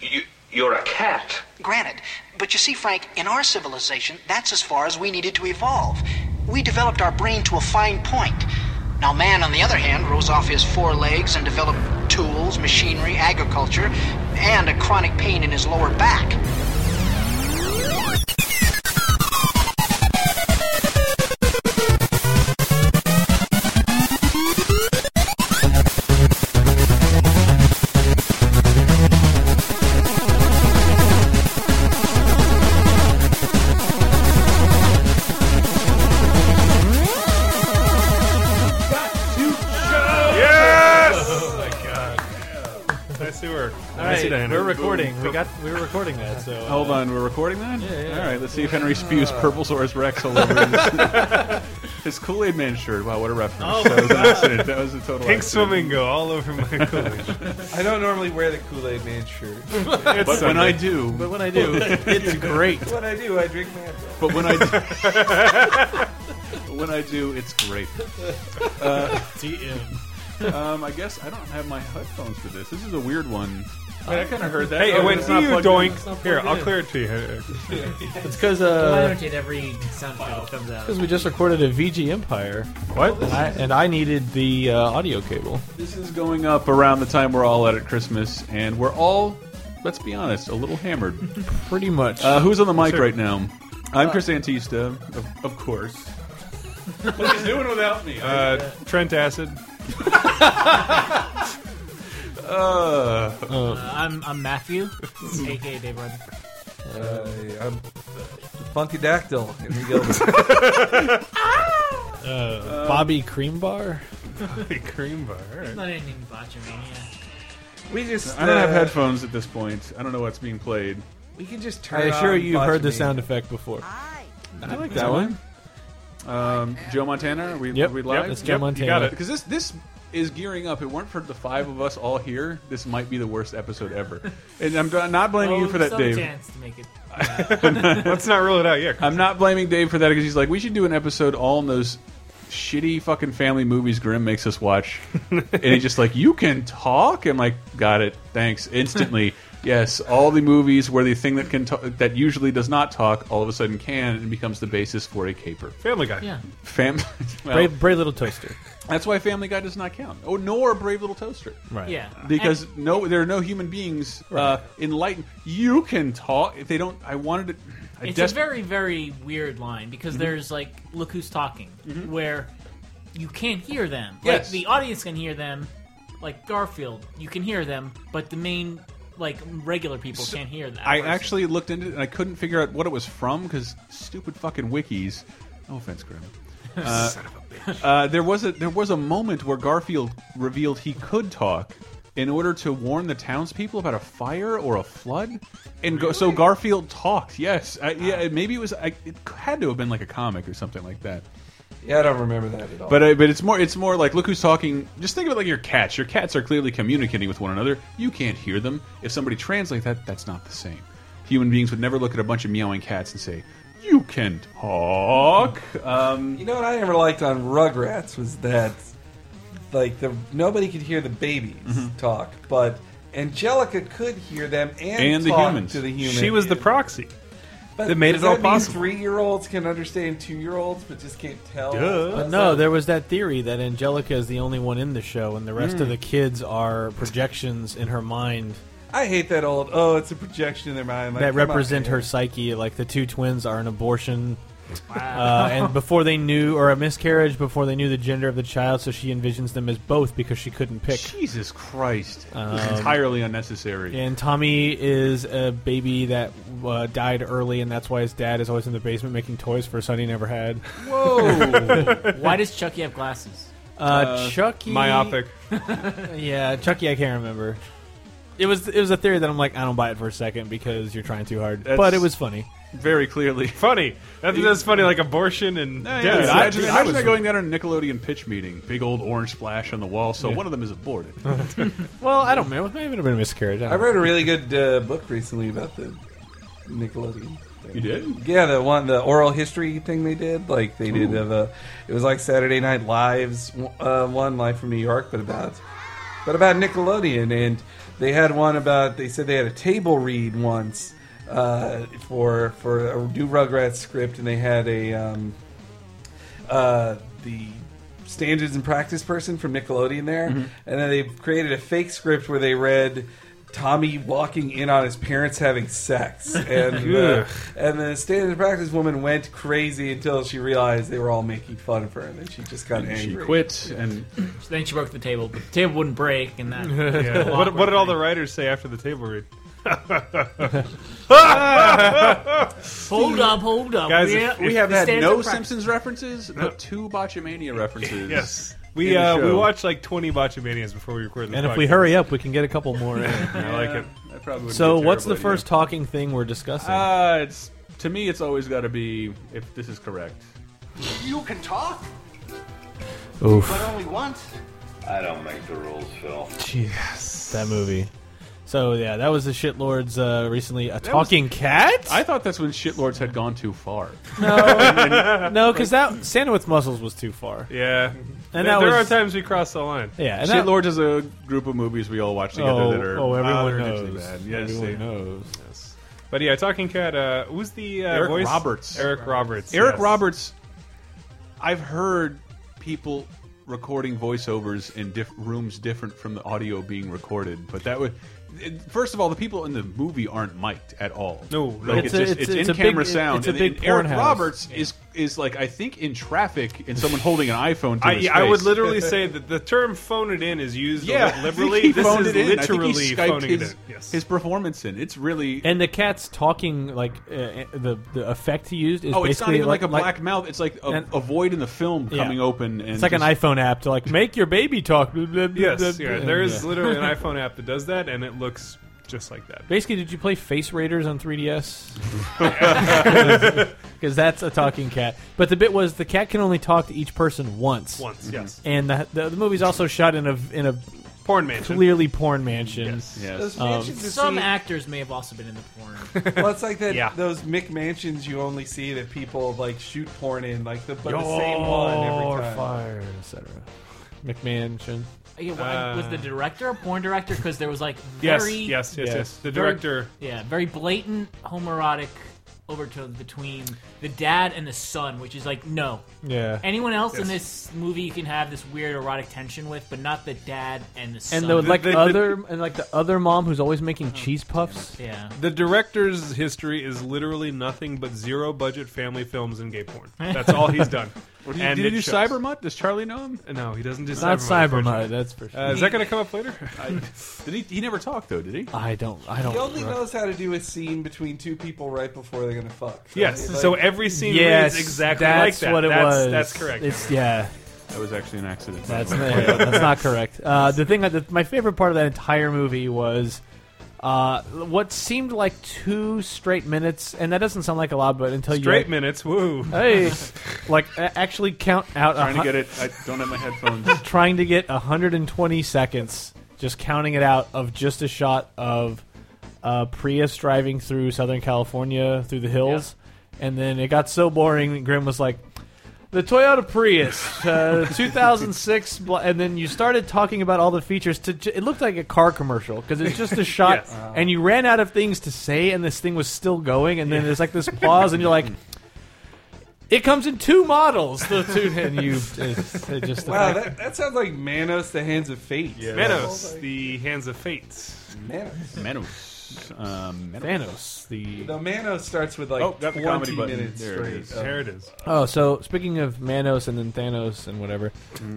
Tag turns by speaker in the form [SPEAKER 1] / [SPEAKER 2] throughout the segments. [SPEAKER 1] You, you're a cat.
[SPEAKER 2] Granted. But you see, Frank, in our civilization, that's as far as we needed to evolve. We developed our brain to a fine point. Now, man, on the other hand, rose off his four legs and developed tools, machinery, agriculture, and a chronic pain in his lower back.
[SPEAKER 3] Yes!
[SPEAKER 4] Nice to work.
[SPEAKER 3] Nice to Diana.
[SPEAKER 4] we're recording. We got we were recording that. So uh,
[SPEAKER 5] Hold on, we're recording that?
[SPEAKER 4] Yeah, Uh. yeah.
[SPEAKER 5] All right, let's see if Henry spews Purple Saurus Rex all over his, his Kool Aid Man shirt. Wow, what a reference.
[SPEAKER 4] Oh.
[SPEAKER 5] that was an accident. That was a total
[SPEAKER 4] pink
[SPEAKER 5] accident.
[SPEAKER 4] flamingo all over my Coolidge.
[SPEAKER 3] I don't normally wear the Kool Aid Man shirt.
[SPEAKER 5] But when I do,
[SPEAKER 4] but when I do, it's great.
[SPEAKER 3] what I do, I drink uh, Manta.
[SPEAKER 5] but when I do, when I do, it's great. Uh,
[SPEAKER 4] TM.
[SPEAKER 5] Um, I guess I don't have my headphones for this. This is a weird one.
[SPEAKER 6] I kind of heard that. oh,
[SPEAKER 4] Hey, it went
[SPEAKER 5] it's
[SPEAKER 4] to
[SPEAKER 5] not
[SPEAKER 4] you,
[SPEAKER 5] plugged in.
[SPEAKER 4] doink.
[SPEAKER 6] It's not plugged
[SPEAKER 4] Here, I'll
[SPEAKER 6] in.
[SPEAKER 4] clear it to you.
[SPEAKER 6] It's because
[SPEAKER 7] Why
[SPEAKER 6] uh,
[SPEAKER 7] don't you every sound effect that comes out?
[SPEAKER 6] because we just recorded a VG Empire,
[SPEAKER 4] What?
[SPEAKER 6] I, and I needed the uh, audio cable.
[SPEAKER 5] This is going up around the time we're all out at Christmas, and we're all, let's be honest, a little hammered.
[SPEAKER 6] Pretty much.
[SPEAKER 5] Uh, who's on the mic right now? I'm Chris Antista, of, of course. What are you doing without me?
[SPEAKER 4] Uh, Trent Acid.
[SPEAKER 5] Uh,
[SPEAKER 7] Uh, I'm I'm Matthew, aka Dave Rudden.
[SPEAKER 3] Uh, I'm Funky Dactyl. Here we go.
[SPEAKER 6] Uh, Bobby Cream Bar.
[SPEAKER 4] Cream bar. all right.
[SPEAKER 7] It's not anything botchamania.
[SPEAKER 3] we just.
[SPEAKER 5] I don't have
[SPEAKER 3] uh,
[SPEAKER 5] headphones at this point. I don't know what's being played.
[SPEAKER 3] We can just turn.
[SPEAKER 6] I assure
[SPEAKER 3] on
[SPEAKER 6] you, you've heard the
[SPEAKER 3] Botchamy.
[SPEAKER 6] sound effect before.
[SPEAKER 5] I like that one. Um, Joe Montana, are we,
[SPEAKER 6] Yep,
[SPEAKER 5] are we live?
[SPEAKER 6] yep, it's
[SPEAKER 4] Yep,
[SPEAKER 6] Joe
[SPEAKER 4] you
[SPEAKER 6] Montana.
[SPEAKER 4] got it.
[SPEAKER 5] Because this this is gearing up. If it weren't for the five of us all here, this might be the worst episode ever. Oh, And I'm d- not blaming you for that,
[SPEAKER 7] still
[SPEAKER 5] Dave.
[SPEAKER 7] A chance to make it.
[SPEAKER 4] Let's not rule it out yet.
[SPEAKER 5] I'm not blaming Dave for that because he's like, we should do an episode all in those shitty fucking family movies Grimm makes us watch. and he's just like, you can talk? I'm like, got it. Thanks. Instantly. yes, all the movies where the thing that can ta- that usually does not talk all of a sudden can and becomes the basis for a caper.
[SPEAKER 4] Family Guy.
[SPEAKER 7] Yeah.
[SPEAKER 5] Fam well,
[SPEAKER 6] Brave, brave little toaster.
[SPEAKER 5] That's why Family Guy does not count. Oh, nor Brave Little Toaster.
[SPEAKER 6] Right.
[SPEAKER 7] Yeah.
[SPEAKER 5] Because no, there are no human beings uh, enlightened. You can talk. If they don't, I wanted to. I
[SPEAKER 7] it's
[SPEAKER 5] desper-
[SPEAKER 7] a very very weird line because
[SPEAKER 5] Mm-hmm.
[SPEAKER 7] there's like look who's talking where you can't hear them
[SPEAKER 5] Yes.
[SPEAKER 7] like the audience can hear them like garfield you can hear them but the main like regular people can't hear that
[SPEAKER 5] I
[SPEAKER 7] person.
[SPEAKER 5] actually looked into it and I couldn't figure out what it was from because stupid fucking wikis. No offense, Grim. Uh, uh, there was a there was a moment where Garfield revealed he could talk in order to warn the townspeople about a fire or a flood, and go, so Garfield talked. Yes, I, yeah, maybe it was. I, it had to have been like a comic or something like that.
[SPEAKER 3] Yeah, I don't remember that at all.
[SPEAKER 5] But uh, but it's more it's more like look who's talking. Just think of it like your cats. Your cats are clearly communicating with one another. You can't hear them. If somebody translates that, that's not the same. Human beings would never look at a bunch of meowing cats and say, "You can talk." Um,
[SPEAKER 3] you know what I never liked on Rugrats was that, like, the nobody could hear the babies
[SPEAKER 6] Mm-hmm.
[SPEAKER 3] talk, but Angelica could hear them and,
[SPEAKER 5] And the
[SPEAKER 3] talk
[SPEAKER 5] humans.
[SPEAKER 3] to the humans.
[SPEAKER 4] She was the proxy.
[SPEAKER 3] But
[SPEAKER 6] that made
[SPEAKER 3] does
[SPEAKER 6] it all
[SPEAKER 3] mean
[SPEAKER 6] possible.
[SPEAKER 3] Three-year-olds can understand two-year-olds, but just can't tell.
[SPEAKER 4] Duh.
[SPEAKER 6] But no, there was that theory that Angelica is the only one in the show, and the rest
[SPEAKER 3] Hmm.
[SPEAKER 6] of the kids are projections in her mind
[SPEAKER 3] I hate that old. Oh, it's a projection in their mind. Like,
[SPEAKER 6] that
[SPEAKER 3] come on,
[SPEAKER 6] represent
[SPEAKER 3] man.
[SPEAKER 6] her psyche. Like the two twins are an abortion, uh, and before they knew, or a miscarriage before they knew the gender of the child, so she envisions them as both because she couldn't pick.
[SPEAKER 5] Jesus Christ! This
[SPEAKER 4] Um,
[SPEAKER 5] is entirely unnecessary.
[SPEAKER 6] And Tommy is a baby that uh, died early, and that's why his dad is always in the basement making toys for a son he never had.
[SPEAKER 5] Whoa!
[SPEAKER 7] why does chucky have glasses
[SPEAKER 6] Uh, Chucky,
[SPEAKER 4] Myopic.
[SPEAKER 6] Yeah, Chucky, I can't remember. It was it was a theory that I'm like I don't buy it for a second because you're trying too hard.
[SPEAKER 5] That's-
[SPEAKER 6] but it was funny.
[SPEAKER 5] Very clearly.
[SPEAKER 4] Funny. That, that's funny, like abortion and
[SPEAKER 5] Yeah,
[SPEAKER 4] death.
[SPEAKER 5] I, I,
[SPEAKER 4] That's-
[SPEAKER 5] I was going down a Nickelodeon pitch meeting. Big old orange splash on the wall. So one of them is aborted.
[SPEAKER 6] Well, I don't know. It might have been a miscarriage. I,
[SPEAKER 3] I
[SPEAKER 6] don't know.
[SPEAKER 3] read a really good uh, book recently about the Nickelodeon.
[SPEAKER 5] you did?
[SPEAKER 3] Yeah, the one the oral history thing they did, like they did of a, it was like Saturday Night Live's uh, one live from New York, but about but about Nickelodeon, and they had one about. They said they had a table read once uh, for for a new Rugrats script, and they had a um, uh, the standards and practice person from Nickelodeon there, and then they created a fake script where they read. Tommy walking in on his parents having sex, and uh,
[SPEAKER 4] Ugh.
[SPEAKER 3] and the standards and practice woman went crazy until she realized they were all making fun of her, and then she just got angry.
[SPEAKER 5] She quit, and
[SPEAKER 7] So then she broke the table, but the table wouldn't break, and that.
[SPEAKER 4] Yeah. what, what did all the writers say after the table read?
[SPEAKER 7] hold up, hold up.
[SPEAKER 4] Guys,
[SPEAKER 7] we,
[SPEAKER 4] if-
[SPEAKER 7] we
[SPEAKER 5] we have had
[SPEAKER 7] stands
[SPEAKER 5] no
[SPEAKER 7] of practice.
[SPEAKER 5] Simpsons references, but two Botchamania references.
[SPEAKER 4] We
[SPEAKER 5] In the
[SPEAKER 4] uh, we
[SPEAKER 5] show.
[SPEAKER 4] watched like 20 Botchamanias before we recorded this
[SPEAKER 6] And if we
[SPEAKER 4] podcast.
[SPEAKER 6] hurry up, we can get a couple more in.
[SPEAKER 4] I like it.
[SPEAKER 5] That probably wouldn't
[SPEAKER 6] So,
[SPEAKER 5] be a
[SPEAKER 6] what's the
[SPEAKER 5] terrible
[SPEAKER 6] first talking thing we're discussing?
[SPEAKER 5] idea. Uh, it's to me, it's always got to be if this is correct.
[SPEAKER 1] You can talk,
[SPEAKER 6] Oof,
[SPEAKER 1] only once. I don't make the rules, Phil.
[SPEAKER 6] Jesus, that movie. So yeah, that was the shitlords uh, recently. A talking cat?
[SPEAKER 5] I thought that's when shitlords had gone too far.
[SPEAKER 6] no, because that Santa with muscles was too far.
[SPEAKER 4] Yeah.
[SPEAKER 6] And
[SPEAKER 4] And
[SPEAKER 6] that
[SPEAKER 4] there
[SPEAKER 6] was-
[SPEAKER 4] are times we cross the line.
[SPEAKER 6] Yeah, and that,
[SPEAKER 5] shitlords is a group of movies we all watch together
[SPEAKER 6] oh,
[SPEAKER 5] that are
[SPEAKER 6] oh,
[SPEAKER 5] ah,
[SPEAKER 6] everyone
[SPEAKER 5] they're
[SPEAKER 6] knows.
[SPEAKER 5] usually bad. Yes,
[SPEAKER 6] everyone
[SPEAKER 5] they-
[SPEAKER 6] knows.
[SPEAKER 4] Yes. But yeah, Talking Cat, uh, who's the uh,
[SPEAKER 5] Eric
[SPEAKER 4] voice?
[SPEAKER 5] Roberts.
[SPEAKER 4] Eric Roberts.
[SPEAKER 5] Eric
[SPEAKER 4] yes.
[SPEAKER 5] Roberts, I've heard people recording voiceovers in diff rooms different from the audio being recorded, but that would. it- First of all, the people in the movie aren't mic'd at all.
[SPEAKER 4] No, no.
[SPEAKER 5] like
[SPEAKER 6] It's
[SPEAKER 5] it's,
[SPEAKER 6] a-
[SPEAKER 5] just
[SPEAKER 6] it's
[SPEAKER 5] it's,
[SPEAKER 6] a- it's a
[SPEAKER 5] in camera
[SPEAKER 6] big-
[SPEAKER 5] sound.
[SPEAKER 6] it's a
[SPEAKER 5] and-
[SPEAKER 6] big
[SPEAKER 5] and
[SPEAKER 6] porn
[SPEAKER 5] Eric
[SPEAKER 6] house.
[SPEAKER 5] Roberts is is like I think in traffic and someone holding an iPhone to
[SPEAKER 4] I,
[SPEAKER 5] his
[SPEAKER 4] I
[SPEAKER 5] face.
[SPEAKER 4] would literally say that the term phone it in is used
[SPEAKER 5] Yeah,
[SPEAKER 4] li-
[SPEAKER 5] I think
[SPEAKER 4] liberally.
[SPEAKER 5] he
[SPEAKER 4] This
[SPEAKER 5] phoned it
[SPEAKER 4] is
[SPEAKER 5] in. I think he
[SPEAKER 4] literally
[SPEAKER 5] Skyped
[SPEAKER 4] phoning
[SPEAKER 5] his,
[SPEAKER 4] it in. Yes.
[SPEAKER 5] His performance in it's really
[SPEAKER 6] And the cat's talking like uh, uh, the the effect he used is
[SPEAKER 5] oh,
[SPEAKER 6] basically
[SPEAKER 5] it's not even like, a
[SPEAKER 6] like-
[SPEAKER 5] black mouth. It's like a,
[SPEAKER 6] And-
[SPEAKER 5] a void in the film
[SPEAKER 6] Yeah.
[SPEAKER 5] coming open. And
[SPEAKER 6] It's like an
[SPEAKER 5] just-
[SPEAKER 6] iPhone app to like make your baby talk. blah, blah, blah, blah,
[SPEAKER 4] Yes,
[SPEAKER 6] blah.
[SPEAKER 4] yeah, there is literally an iPhone app that does that, and it looks just like that.
[SPEAKER 6] Basically, did you play Face Raiders on 3DS? Because that's a talking cat. But the bit was the cat can only talk to each person once.
[SPEAKER 4] Once, yes.
[SPEAKER 6] And the, the, the movie's also shot in a in a
[SPEAKER 4] Porn mansion.
[SPEAKER 6] clearly porn mansion.
[SPEAKER 4] Yes.
[SPEAKER 5] Yes.
[SPEAKER 3] Those mansions you
[SPEAKER 7] Some
[SPEAKER 3] see-
[SPEAKER 7] actors may have also been in the porn.
[SPEAKER 3] well, it's like that.
[SPEAKER 4] Yeah.
[SPEAKER 3] Those Mick mansions you only see that people like shoot porn in, like the but the same
[SPEAKER 6] Your
[SPEAKER 3] one every time.
[SPEAKER 6] fire, etc. McMansion.
[SPEAKER 7] Yeah, well, was the director a porn director? Because there was like
[SPEAKER 4] Uh, Yes,
[SPEAKER 7] very
[SPEAKER 4] yes, yes, yes,
[SPEAKER 6] Yes.
[SPEAKER 4] The director.
[SPEAKER 7] yeah very blatant homoerotic overtones between the dad and the son, which is like no.
[SPEAKER 6] Yeah.
[SPEAKER 7] Anyone else in
[SPEAKER 4] Yes.
[SPEAKER 7] this movie you can have this weird erotic tension with, but not the dad and the son.
[SPEAKER 6] and the, like
[SPEAKER 4] the- Uh-huh. the-
[SPEAKER 6] other and like the other mom who's always making cheese puffs.
[SPEAKER 7] yeah,
[SPEAKER 4] The director's history is literally nothing but zero budget family films and gay porn. That's all he's done.
[SPEAKER 5] Did,
[SPEAKER 4] And
[SPEAKER 5] did he
[SPEAKER 4] it
[SPEAKER 5] do
[SPEAKER 4] shows.
[SPEAKER 5] Cybermutt? Does Charlie know him?
[SPEAKER 4] No, he doesn't do
[SPEAKER 6] Not
[SPEAKER 4] Cybermud.
[SPEAKER 6] Cybermud, that's for sure.
[SPEAKER 4] Uh, is that going to come up later?
[SPEAKER 5] Did he? He never talked though, did he?
[SPEAKER 6] I don't. I don't.
[SPEAKER 3] He only knows how to do a scene between two people right before they're gonna fuck. So,
[SPEAKER 4] yes.
[SPEAKER 3] like,
[SPEAKER 4] so every scene
[SPEAKER 6] yes,
[SPEAKER 4] reads exactly
[SPEAKER 6] that's
[SPEAKER 4] like that.
[SPEAKER 6] what it
[SPEAKER 4] that's,
[SPEAKER 6] was.
[SPEAKER 4] That's correct.
[SPEAKER 6] It's yeah.
[SPEAKER 5] That was actually an accident.
[SPEAKER 6] That's not, yeah, that's not correct. Uh, the thing, I- the, my favorite part of that entire movie was uh, what seemed like two straight minutes, and that doesn't sound like a lot, but until
[SPEAKER 4] Straight
[SPEAKER 6] you
[SPEAKER 4] minutes. Woo.
[SPEAKER 6] hey, like a- actually count out a
[SPEAKER 5] trying to
[SPEAKER 6] hun-
[SPEAKER 5] get it. I don't have my headphones.
[SPEAKER 6] trying to get 120 seconds, just counting it out of just a shot of uh, Prius driving through Southern California through the hills, and then it got so boring. that Grim was like. The Toyota Prius, uh, 2006, bl- and then you started talking about all the features. To ju- it looked like a car commercial because it's just a shot,
[SPEAKER 4] Yes.
[SPEAKER 6] and you ran out of things to say, and this thing was still going, and then there's like this pause, and you're like, "It comes in two models." The two, and you, it, it just
[SPEAKER 3] Wow, that, that sounds like Manos, the Hands of Fate.
[SPEAKER 4] Manos, the hands of fate.
[SPEAKER 3] Manos.
[SPEAKER 5] Meadows. Um, Meadows.
[SPEAKER 6] Thanos. The
[SPEAKER 3] No, Manos starts with like
[SPEAKER 5] Oh, that's the comedy
[SPEAKER 3] 20
[SPEAKER 5] button.
[SPEAKER 3] minutes
[SPEAKER 5] There it
[SPEAKER 3] straight. Uh,
[SPEAKER 5] is.
[SPEAKER 3] of-
[SPEAKER 4] There it is.
[SPEAKER 6] oh, so speaking of Manos and then Thanos and whatever.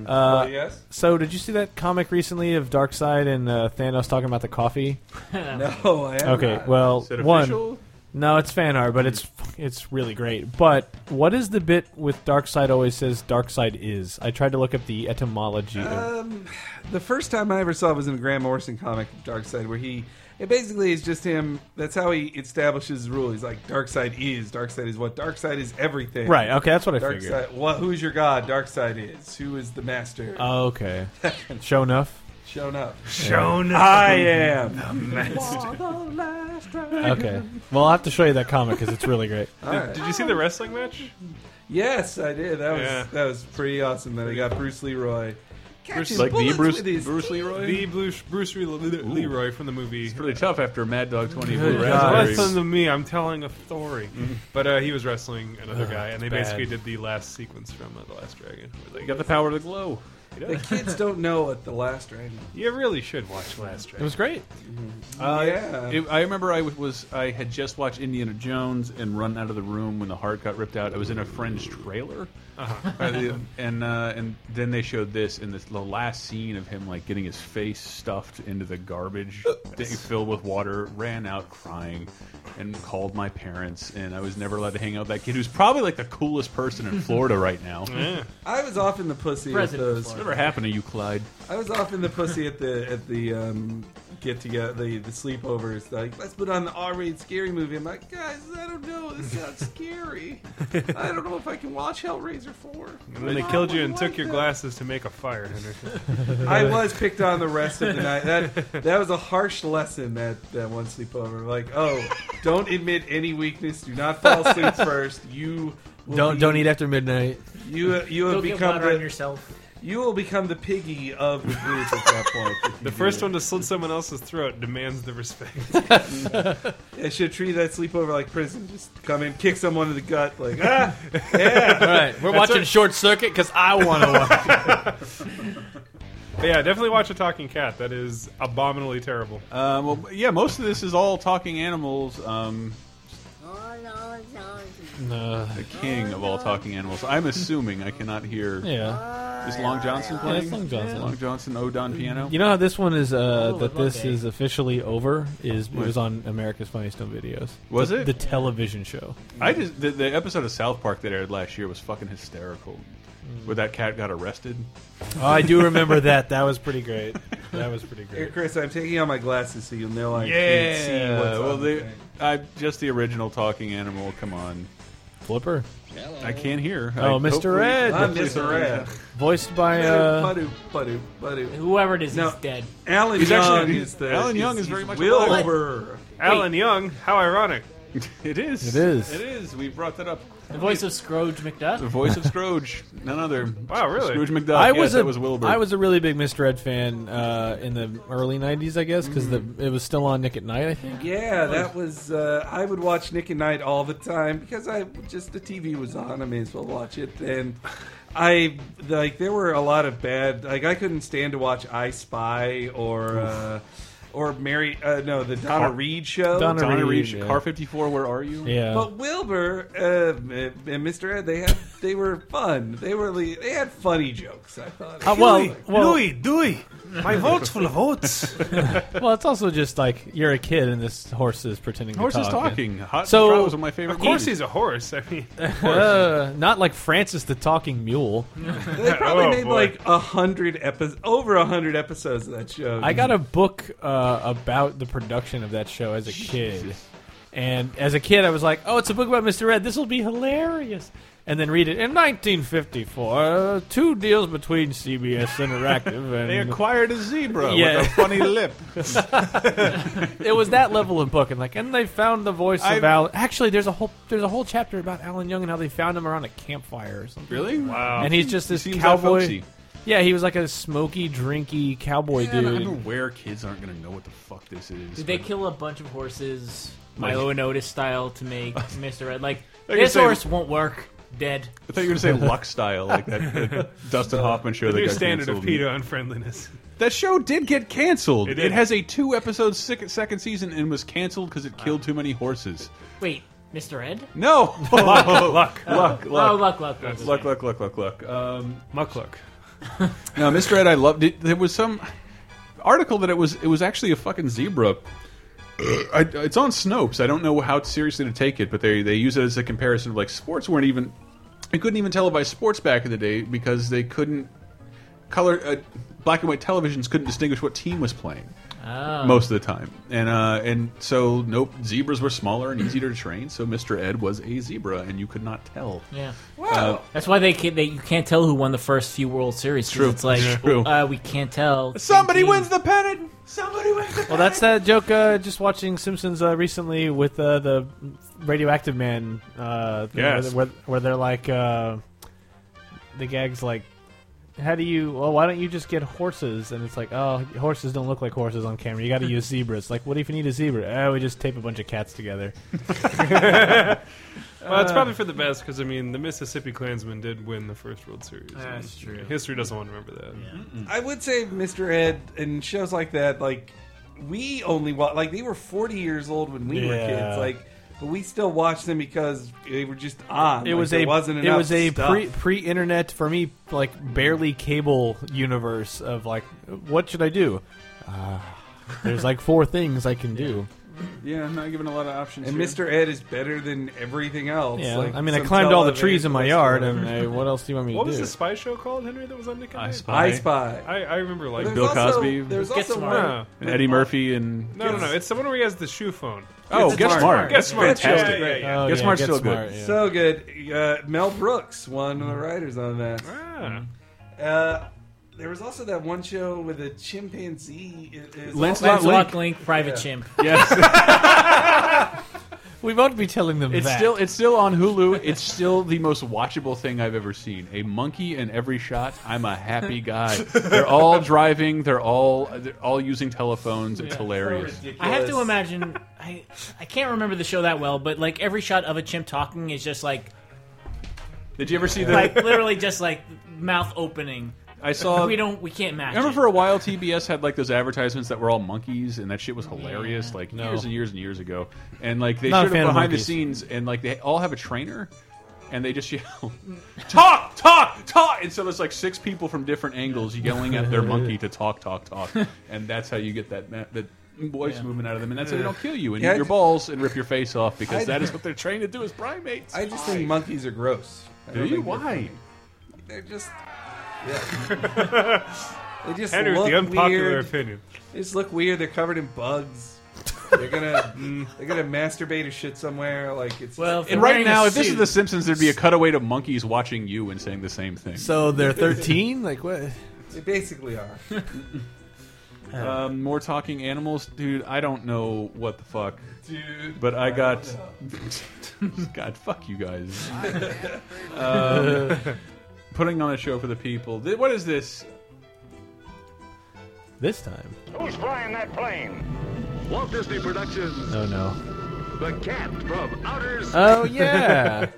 [SPEAKER 3] Oh,
[SPEAKER 6] Uh,
[SPEAKER 3] yes.
[SPEAKER 6] So did you see that comic recently of Darkseid and uh, Thanos talking about the coffee?
[SPEAKER 3] No, I am
[SPEAKER 6] Okay,
[SPEAKER 3] not.
[SPEAKER 6] well,
[SPEAKER 5] Is it
[SPEAKER 6] one.
[SPEAKER 5] official?
[SPEAKER 6] No, it's fan art, but it's it's really great. But what is the bit with Darkseid always says Darkseid is? I tried to look up the etymology. of
[SPEAKER 3] Um, the first time I ever saw it was in a Graham Morrison comic, Dark Side, where he it basically is just him. That's how he establishes his rule. He's like, Dark Side is Dark Side is what Dark Side is everything.
[SPEAKER 6] Right. Okay, that's what I
[SPEAKER 3] Dark
[SPEAKER 6] figured.
[SPEAKER 3] Side. What? Who's your god? Dark Side is. Who is the master?
[SPEAKER 4] Uh,
[SPEAKER 6] Oh, Okay. Show enough.
[SPEAKER 3] Shown up.
[SPEAKER 4] Shown.
[SPEAKER 3] I am.
[SPEAKER 6] Okay. Well, I'll have to show you that comic because it's really great.
[SPEAKER 3] All right.
[SPEAKER 4] Did you see the wrestling match?
[SPEAKER 3] Yes, I did. That was
[SPEAKER 4] Yeah.
[SPEAKER 3] that was pretty awesome. That I got Bruce Leroy Catching
[SPEAKER 5] like the
[SPEAKER 3] bullets
[SPEAKER 5] Bruce,
[SPEAKER 3] with his
[SPEAKER 5] Bruce Leroy.
[SPEAKER 4] The Bruce, Bruce Re- Leroy from the movie.
[SPEAKER 5] it's pretty tough after Mad Dog Twenty
[SPEAKER 4] Good
[SPEAKER 5] Blue
[SPEAKER 4] God.
[SPEAKER 5] Raspberries.
[SPEAKER 4] Listen to me. I'm telling a story.
[SPEAKER 5] Mm-hmm.
[SPEAKER 4] But uh, he was wrestling another guy, and they
[SPEAKER 6] bad.
[SPEAKER 4] basically did the last sequence from uh, The Last Dragon. where they
[SPEAKER 5] You
[SPEAKER 4] go,
[SPEAKER 5] got the power of the glow.
[SPEAKER 3] The kids don't know what the last dragon.
[SPEAKER 4] You really should watch Last
[SPEAKER 6] It
[SPEAKER 4] Dragon.
[SPEAKER 6] was great.
[SPEAKER 5] Uh,
[SPEAKER 3] Yeah.
[SPEAKER 5] it- I remember I was I had just watched Indiana Jones and run out of the room when the heart got ripped out. I was in a friend's trailer, Uh, and uh, and then they showed this and this the last scene of him like getting his face stuffed into the garbage that you filled with water. Ran out crying, and called my parents. And I was never allowed to hang out with that kid who's probably like the coolest person in Florida right now.
[SPEAKER 3] I was off in the pussy with
[SPEAKER 7] President
[SPEAKER 3] those.
[SPEAKER 7] Florida.
[SPEAKER 5] Whatever happened to you, Clyde?
[SPEAKER 3] I was off in the pussy at the at the um, get together, the, the sleepovers. Like, let's put on the R-rated scary movie. I'm like, guys, I don't know. This sounds scary. I don't know if I can watch Hellraiser four.
[SPEAKER 4] And then they killed you and took your glasses to make a fire, Henry.
[SPEAKER 3] I was picked on the rest of the night. That that was a harsh lesson. That that one sleepover. Like, oh, don't admit any weakness. Do not fall asleep first. You will
[SPEAKER 6] Don't
[SPEAKER 3] be-
[SPEAKER 6] don't eat after midnight.
[SPEAKER 3] You you
[SPEAKER 7] Go
[SPEAKER 3] have
[SPEAKER 7] get
[SPEAKER 3] become
[SPEAKER 7] water on
[SPEAKER 3] the,
[SPEAKER 7] yourself.
[SPEAKER 3] you will become the piggy of the group at that point. if you
[SPEAKER 4] The
[SPEAKER 3] do
[SPEAKER 4] first
[SPEAKER 3] that.
[SPEAKER 4] one to slit someone else's throat demands the respect.
[SPEAKER 3] I should treat that sleepover like prison. Just come in, kick someone in the gut, like ah, yeah.
[SPEAKER 6] All right, we're watching Short Circuit because I want to watch.
[SPEAKER 4] But yeah, definitely watch A Talking Cat. That is abominably terrible.
[SPEAKER 6] Uh,
[SPEAKER 5] Um, well, yeah, most of this is all talking animals. Um, the king of all talking animals. I'm assuming I cannot hear.
[SPEAKER 6] yeah,
[SPEAKER 5] Is Long Johnson
[SPEAKER 6] yeah,
[SPEAKER 5] playing?
[SPEAKER 6] it's Long Johnson.
[SPEAKER 5] Long Johnson, Ode on piano.
[SPEAKER 6] You know how this one is uh, that
[SPEAKER 7] love
[SPEAKER 6] this
[SPEAKER 7] it.
[SPEAKER 6] is officially over is it was on America's Funniest Home Videos.
[SPEAKER 5] Was
[SPEAKER 6] the,
[SPEAKER 5] it?
[SPEAKER 6] the television show?
[SPEAKER 5] I just the, the episode of South Park that aired last year was fucking hysterical.
[SPEAKER 6] Mm.
[SPEAKER 5] Where that cat got arrested.
[SPEAKER 6] Oh, I do remember that. That was pretty great. That was pretty
[SPEAKER 3] Here,
[SPEAKER 6] great.
[SPEAKER 3] Chris, I'm taking out my glasses so you'll know I can't see what's
[SPEAKER 5] well,
[SPEAKER 3] on the
[SPEAKER 5] they,
[SPEAKER 3] thing.
[SPEAKER 5] I just the original talking animal. Come on,
[SPEAKER 6] Flipper,
[SPEAKER 5] I can't hear.
[SPEAKER 6] Oh,
[SPEAKER 5] I-
[SPEAKER 6] Mr.
[SPEAKER 5] hopefully-
[SPEAKER 6] Red.
[SPEAKER 3] I'm Mr. Red.
[SPEAKER 6] voiced by uh,
[SPEAKER 3] Padu, padu, padu.
[SPEAKER 7] Whoever it is,
[SPEAKER 3] No.
[SPEAKER 7] is dead.
[SPEAKER 3] Alan
[SPEAKER 5] He's
[SPEAKER 3] Young
[SPEAKER 5] actually-
[SPEAKER 3] is the
[SPEAKER 5] Alan Young is very
[SPEAKER 3] he's
[SPEAKER 5] much alive.
[SPEAKER 3] Wilbur.
[SPEAKER 4] Alan Young, how ironic.
[SPEAKER 5] It is.
[SPEAKER 6] It is.
[SPEAKER 5] It is. We brought that up.
[SPEAKER 7] The voice of Scrooge
[SPEAKER 5] The
[SPEAKER 7] McDuck.
[SPEAKER 5] voice of Scrooge, none other.
[SPEAKER 4] Wow, really?
[SPEAKER 5] Scrooge McDuck.
[SPEAKER 6] I
[SPEAKER 5] yes,
[SPEAKER 6] was a
[SPEAKER 5] that was Wilbur.
[SPEAKER 6] I was a really big Mr. Ed fan uh, in the early '90s, I guess, because it was still on Nick at Night. I think.
[SPEAKER 3] Yeah, that was. Uh, I would watch Nick and Night all the time because I just the TV was on. I may as well watch it. And I like there were a lot of bad. Like I couldn't stand to watch I Spy or uh, or Mary. Uh, no, the Donna
[SPEAKER 5] Car-
[SPEAKER 3] Reed show.
[SPEAKER 6] Donna
[SPEAKER 5] Donna
[SPEAKER 6] Reed,
[SPEAKER 5] Reed,
[SPEAKER 6] yeah.
[SPEAKER 5] Car 54, where are you?
[SPEAKER 6] Yeah.
[SPEAKER 3] But Wilbur uh, and Mr. Ed, they had they were fun. They were le- they had funny jokes. I thought.
[SPEAKER 6] Uh, well, well,
[SPEAKER 4] Dewey, my vote's full of votes.
[SPEAKER 6] well, it's also just like you're a kid and this horse is pretending
[SPEAKER 5] Horse
[SPEAKER 6] to
[SPEAKER 5] is
[SPEAKER 6] talk.
[SPEAKER 5] talking. Hot
[SPEAKER 6] So-
[SPEAKER 5] so, was one of my favorite.
[SPEAKER 4] Of course
[SPEAKER 5] movies.
[SPEAKER 4] he's a horse. I mean,
[SPEAKER 6] Uh, not like Francis the talking mule.
[SPEAKER 3] They probably
[SPEAKER 4] Oh,
[SPEAKER 3] made
[SPEAKER 4] boy.
[SPEAKER 3] like a hundred episodes, over a hundred episodes of that show.
[SPEAKER 6] I got a book uh, about the production of that show as a kid. And as a kid, I was like, oh, it's a book about Mr. Ed. This will be hilarious. And then read it. In 1954, uh, two deals between CBS Interactive
[SPEAKER 5] They
[SPEAKER 6] and
[SPEAKER 5] acquired a zebra
[SPEAKER 6] Yeah.
[SPEAKER 5] with a funny lip.
[SPEAKER 6] it was that level of book, and like, and they found the voice
[SPEAKER 5] I've-
[SPEAKER 6] of Alan. Actually, there's a whole there's a whole chapter about Alan Young and how they found him around a campfire or something.
[SPEAKER 5] Really? Wow.
[SPEAKER 6] and he's just this
[SPEAKER 5] Oh. seems
[SPEAKER 6] cowboy.
[SPEAKER 5] outfolksy.
[SPEAKER 6] Yeah, he was like a smoky, drinky cowboy
[SPEAKER 5] I
[SPEAKER 6] dude.
[SPEAKER 5] don't know where kids aren't going to know what the fuck this is.
[SPEAKER 7] Did they kill a bunch of horses, Milo and Otis style, to make Mr. Red like
[SPEAKER 5] can
[SPEAKER 7] this
[SPEAKER 5] say-
[SPEAKER 7] horse won't work? Dead.
[SPEAKER 5] I thought you were going to say Luck Style, like that, that Dustin Hoffman show
[SPEAKER 4] the
[SPEAKER 5] that
[SPEAKER 4] new
[SPEAKER 5] got
[SPEAKER 4] standard of
[SPEAKER 5] canceled.
[SPEAKER 4] pedo unfriendliness.
[SPEAKER 5] That show did get canceled.
[SPEAKER 4] It
[SPEAKER 5] It,
[SPEAKER 4] did.
[SPEAKER 5] has a two episode sick, second season and was canceled because it killed too many horses.
[SPEAKER 7] Wait, Mr. Ed?
[SPEAKER 5] No, luck, luck, luck,
[SPEAKER 7] Oh,
[SPEAKER 5] luck,
[SPEAKER 7] luck, luck, luck.
[SPEAKER 5] luck, luck, luck, luck, luck. Um,
[SPEAKER 4] Muckluck.
[SPEAKER 5] No, Mr. Ed, I loved it. There was some article that it was it was actually a fucking zebra. Uh, I, it's on Snopes. I don't know how seriously to take it, but they they use it as a comparison of like sports weren't even. They couldn't even televise sports back in the day because they couldn't color uh, black and white televisions couldn't distinguish what team was playing most of the time, and uh, and so nope, zebras were smaller and easier to train. So Mr. Ed was a zebra, and you could not tell.
[SPEAKER 7] Yeah.
[SPEAKER 5] Uh,
[SPEAKER 7] That's why they, can, they you can't tell who won the first few World Series. 'cause
[SPEAKER 5] True.
[SPEAKER 7] It's like
[SPEAKER 5] True.
[SPEAKER 7] Uh, we can't tell.
[SPEAKER 5] somebody
[SPEAKER 7] Team-
[SPEAKER 5] wins the pennant. Somebody wins the.
[SPEAKER 6] Well, that's that joke. Uh, just watching Simpsons uh, recently with uh, the radioactive man. Uh, thing
[SPEAKER 5] Yes.
[SPEAKER 6] where, where, where they're like uh, the gags like how do you? Well, why don't you just get horses? And it's like, oh, horses don't look like horses on camera. You got to use zebras. Like, what if you need a zebra? Oh, we just tape a bunch of cats together.
[SPEAKER 4] Well,
[SPEAKER 6] Uh,
[SPEAKER 4] it's probably for the best because I mean the Mississippi Klansmen did win the first World Series.
[SPEAKER 7] That's
[SPEAKER 4] And
[SPEAKER 7] true.
[SPEAKER 4] History doesn't want to remember that.
[SPEAKER 3] I would say Mr. Ed and shows like that, like we only watch, like they were 40 years old when we were
[SPEAKER 6] Yeah.
[SPEAKER 3] kids, like. But we still watched them because they were just on.
[SPEAKER 6] It
[SPEAKER 3] Ah, Like,
[SPEAKER 6] was
[SPEAKER 3] there
[SPEAKER 6] a
[SPEAKER 3] wasn't
[SPEAKER 6] it
[SPEAKER 3] enough
[SPEAKER 6] was a
[SPEAKER 3] stuff.
[SPEAKER 6] pre pre internet for me like barely cable universe of like what should I do? Uh, there's like four things I can do.
[SPEAKER 5] Yeah, I'm not given a lot of options.
[SPEAKER 3] And
[SPEAKER 5] here.
[SPEAKER 3] Mr. Ed is better than everything else.
[SPEAKER 6] Yeah,
[SPEAKER 3] Like,
[SPEAKER 6] I mean, I
[SPEAKER 3] some
[SPEAKER 6] climbed all the trees
[SPEAKER 3] televangelist
[SPEAKER 6] in my
[SPEAKER 3] or
[SPEAKER 6] yard,
[SPEAKER 3] whatever.
[SPEAKER 6] and I, what else do you want me to
[SPEAKER 4] What
[SPEAKER 6] do?
[SPEAKER 4] was the spy show called, Henry? That was on Nickelodeon.
[SPEAKER 5] I Spy.
[SPEAKER 3] I Spy.
[SPEAKER 4] I, I remember like uh,
[SPEAKER 3] There's
[SPEAKER 5] Bill
[SPEAKER 3] also-
[SPEAKER 5] Cosby.
[SPEAKER 3] There's
[SPEAKER 7] Get
[SPEAKER 3] also
[SPEAKER 7] Smart.
[SPEAKER 3] one.
[SPEAKER 4] no,
[SPEAKER 5] and Eddie Murphy and
[SPEAKER 4] no, no, no. It's someone where he has the shoe phone.
[SPEAKER 5] oh, Get
[SPEAKER 7] Smart.
[SPEAKER 5] Smart.
[SPEAKER 4] Guess smart.
[SPEAKER 5] Fantastic.
[SPEAKER 4] Yeah, yeah, yeah.
[SPEAKER 6] Oh,
[SPEAKER 5] Get
[SPEAKER 6] yeah,
[SPEAKER 5] Smart's
[SPEAKER 6] Get
[SPEAKER 5] still good.
[SPEAKER 6] Smart, yeah.
[SPEAKER 3] So good. Uh, Mel Brooks, one of the writers on that.
[SPEAKER 5] Mm.
[SPEAKER 4] Ah.
[SPEAKER 3] Uh, there was also that one show with a chimpanzee. It- it's
[SPEAKER 5] Lancelot-
[SPEAKER 3] also-
[SPEAKER 5] Not Link.
[SPEAKER 7] Lancelot Link, Private Chimp.
[SPEAKER 5] Yes,
[SPEAKER 6] we won't be telling them
[SPEAKER 5] it's
[SPEAKER 6] that.
[SPEAKER 5] still it's still on Hulu. It's still the most watchable thing I've ever seen. A monkey in every shot. I'm a happy guy. They're all driving. They're all they're all using telephones. It's hilarious.
[SPEAKER 7] I have to imagine. I I can't remember the show that well, but like every shot of a chimp talking is just like
[SPEAKER 5] Did you ever see the?
[SPEAKER 7] like literally just like mouth opening.
[SPEAKER 5] I saw.
[SPEAKER 7] We don't. We can't
[SPEAKER 5] I
[SPEAKER 7] match.
[SPEAKER 5] Uh, remember
[SPEAKER 7] it.
[SPEAKER 5] for a while TBS had like those advertisements that were all monkeys, and that shit was hilarious, like years and years and years ago. And like they
[SPEAKER 6] Not a
[SPEAKER 5] showed up
[SPEAKER 6] fan of
[SPEAKER 5] behind the
[SPEAKER 6] monkeys.
[SPEAKER 5] scenes, and like they all have a trainer, and they just yell, "Talk, talk, talk!" And so there's like six people from different angles yelling at their monkey to talk, talk, talk, and that's how you get that ma- that voice movement out of them, and that's how they don't kill you and
[SPEAKER 3] Yeah, I
[SPEAKER 5] eat your
[SPEAKER 3] ju-
[SPEAKER 5] balls and rip your face off because
[SPEAKER 3] I-
[SPEAKER 5] that is what they're trained to do as primates.
[SPEAKER 3] I just think monkeys are gross. I
[SPEAKER 5] do
[SPEAKER 3] don't
[SPEAKER 5] you
[SPEAKER 3] think they're-
[SPEAKER 5] why?
[SPEAKER 3] They're just. Yeah. they just
[SPEAKER 4] Henry with
[SPEAKER 3] look
[SPEAKER 4] the unpopular
[SPEAKER 3] weird.
[SPEAKER 4] opinion.
[SPEAKER 3] They just look weird. They're covered in bugs. They're gonna mm, they're gonna masturbate or shit somewhere. Like it's
[SPEAKER 7] Well, if
[SPEAKER 5] And
[SPEAKER 7] they're
[SPEAKER 5] right
[SPEAKER 7] wearing a
[SPEAKER 5] now, if this is
[SPEAKER 7] suit-
[SPEAKER 5] The Simpsons, there'd be a cutaway to monkeys watching you and saying the same thing.
[SPEAKER 6] so they're 13. Like what?
[SPEAKER 3] they basically are.
[SPEAKER 5] Um, more talking animals, dude. I don't know what the fuck,
[SPEAKER 3] Dude,
[SPEAKER 5] but I got. God, fuck you guys. um, putting on a show for the people. Th- What is this?
[SPEAKER 6] This time?
[SPEAKER 8] Who's flying that plane?
[SPEAKER 9] Walt Disney Productions,
[SPEAKER 6] Oh no.
[SPEAKER 9] The Cat from Outer
[SPEAKER 1] Uh,
[SPEAKER 9] Space.
[SPEAKER 6] Oh yeah.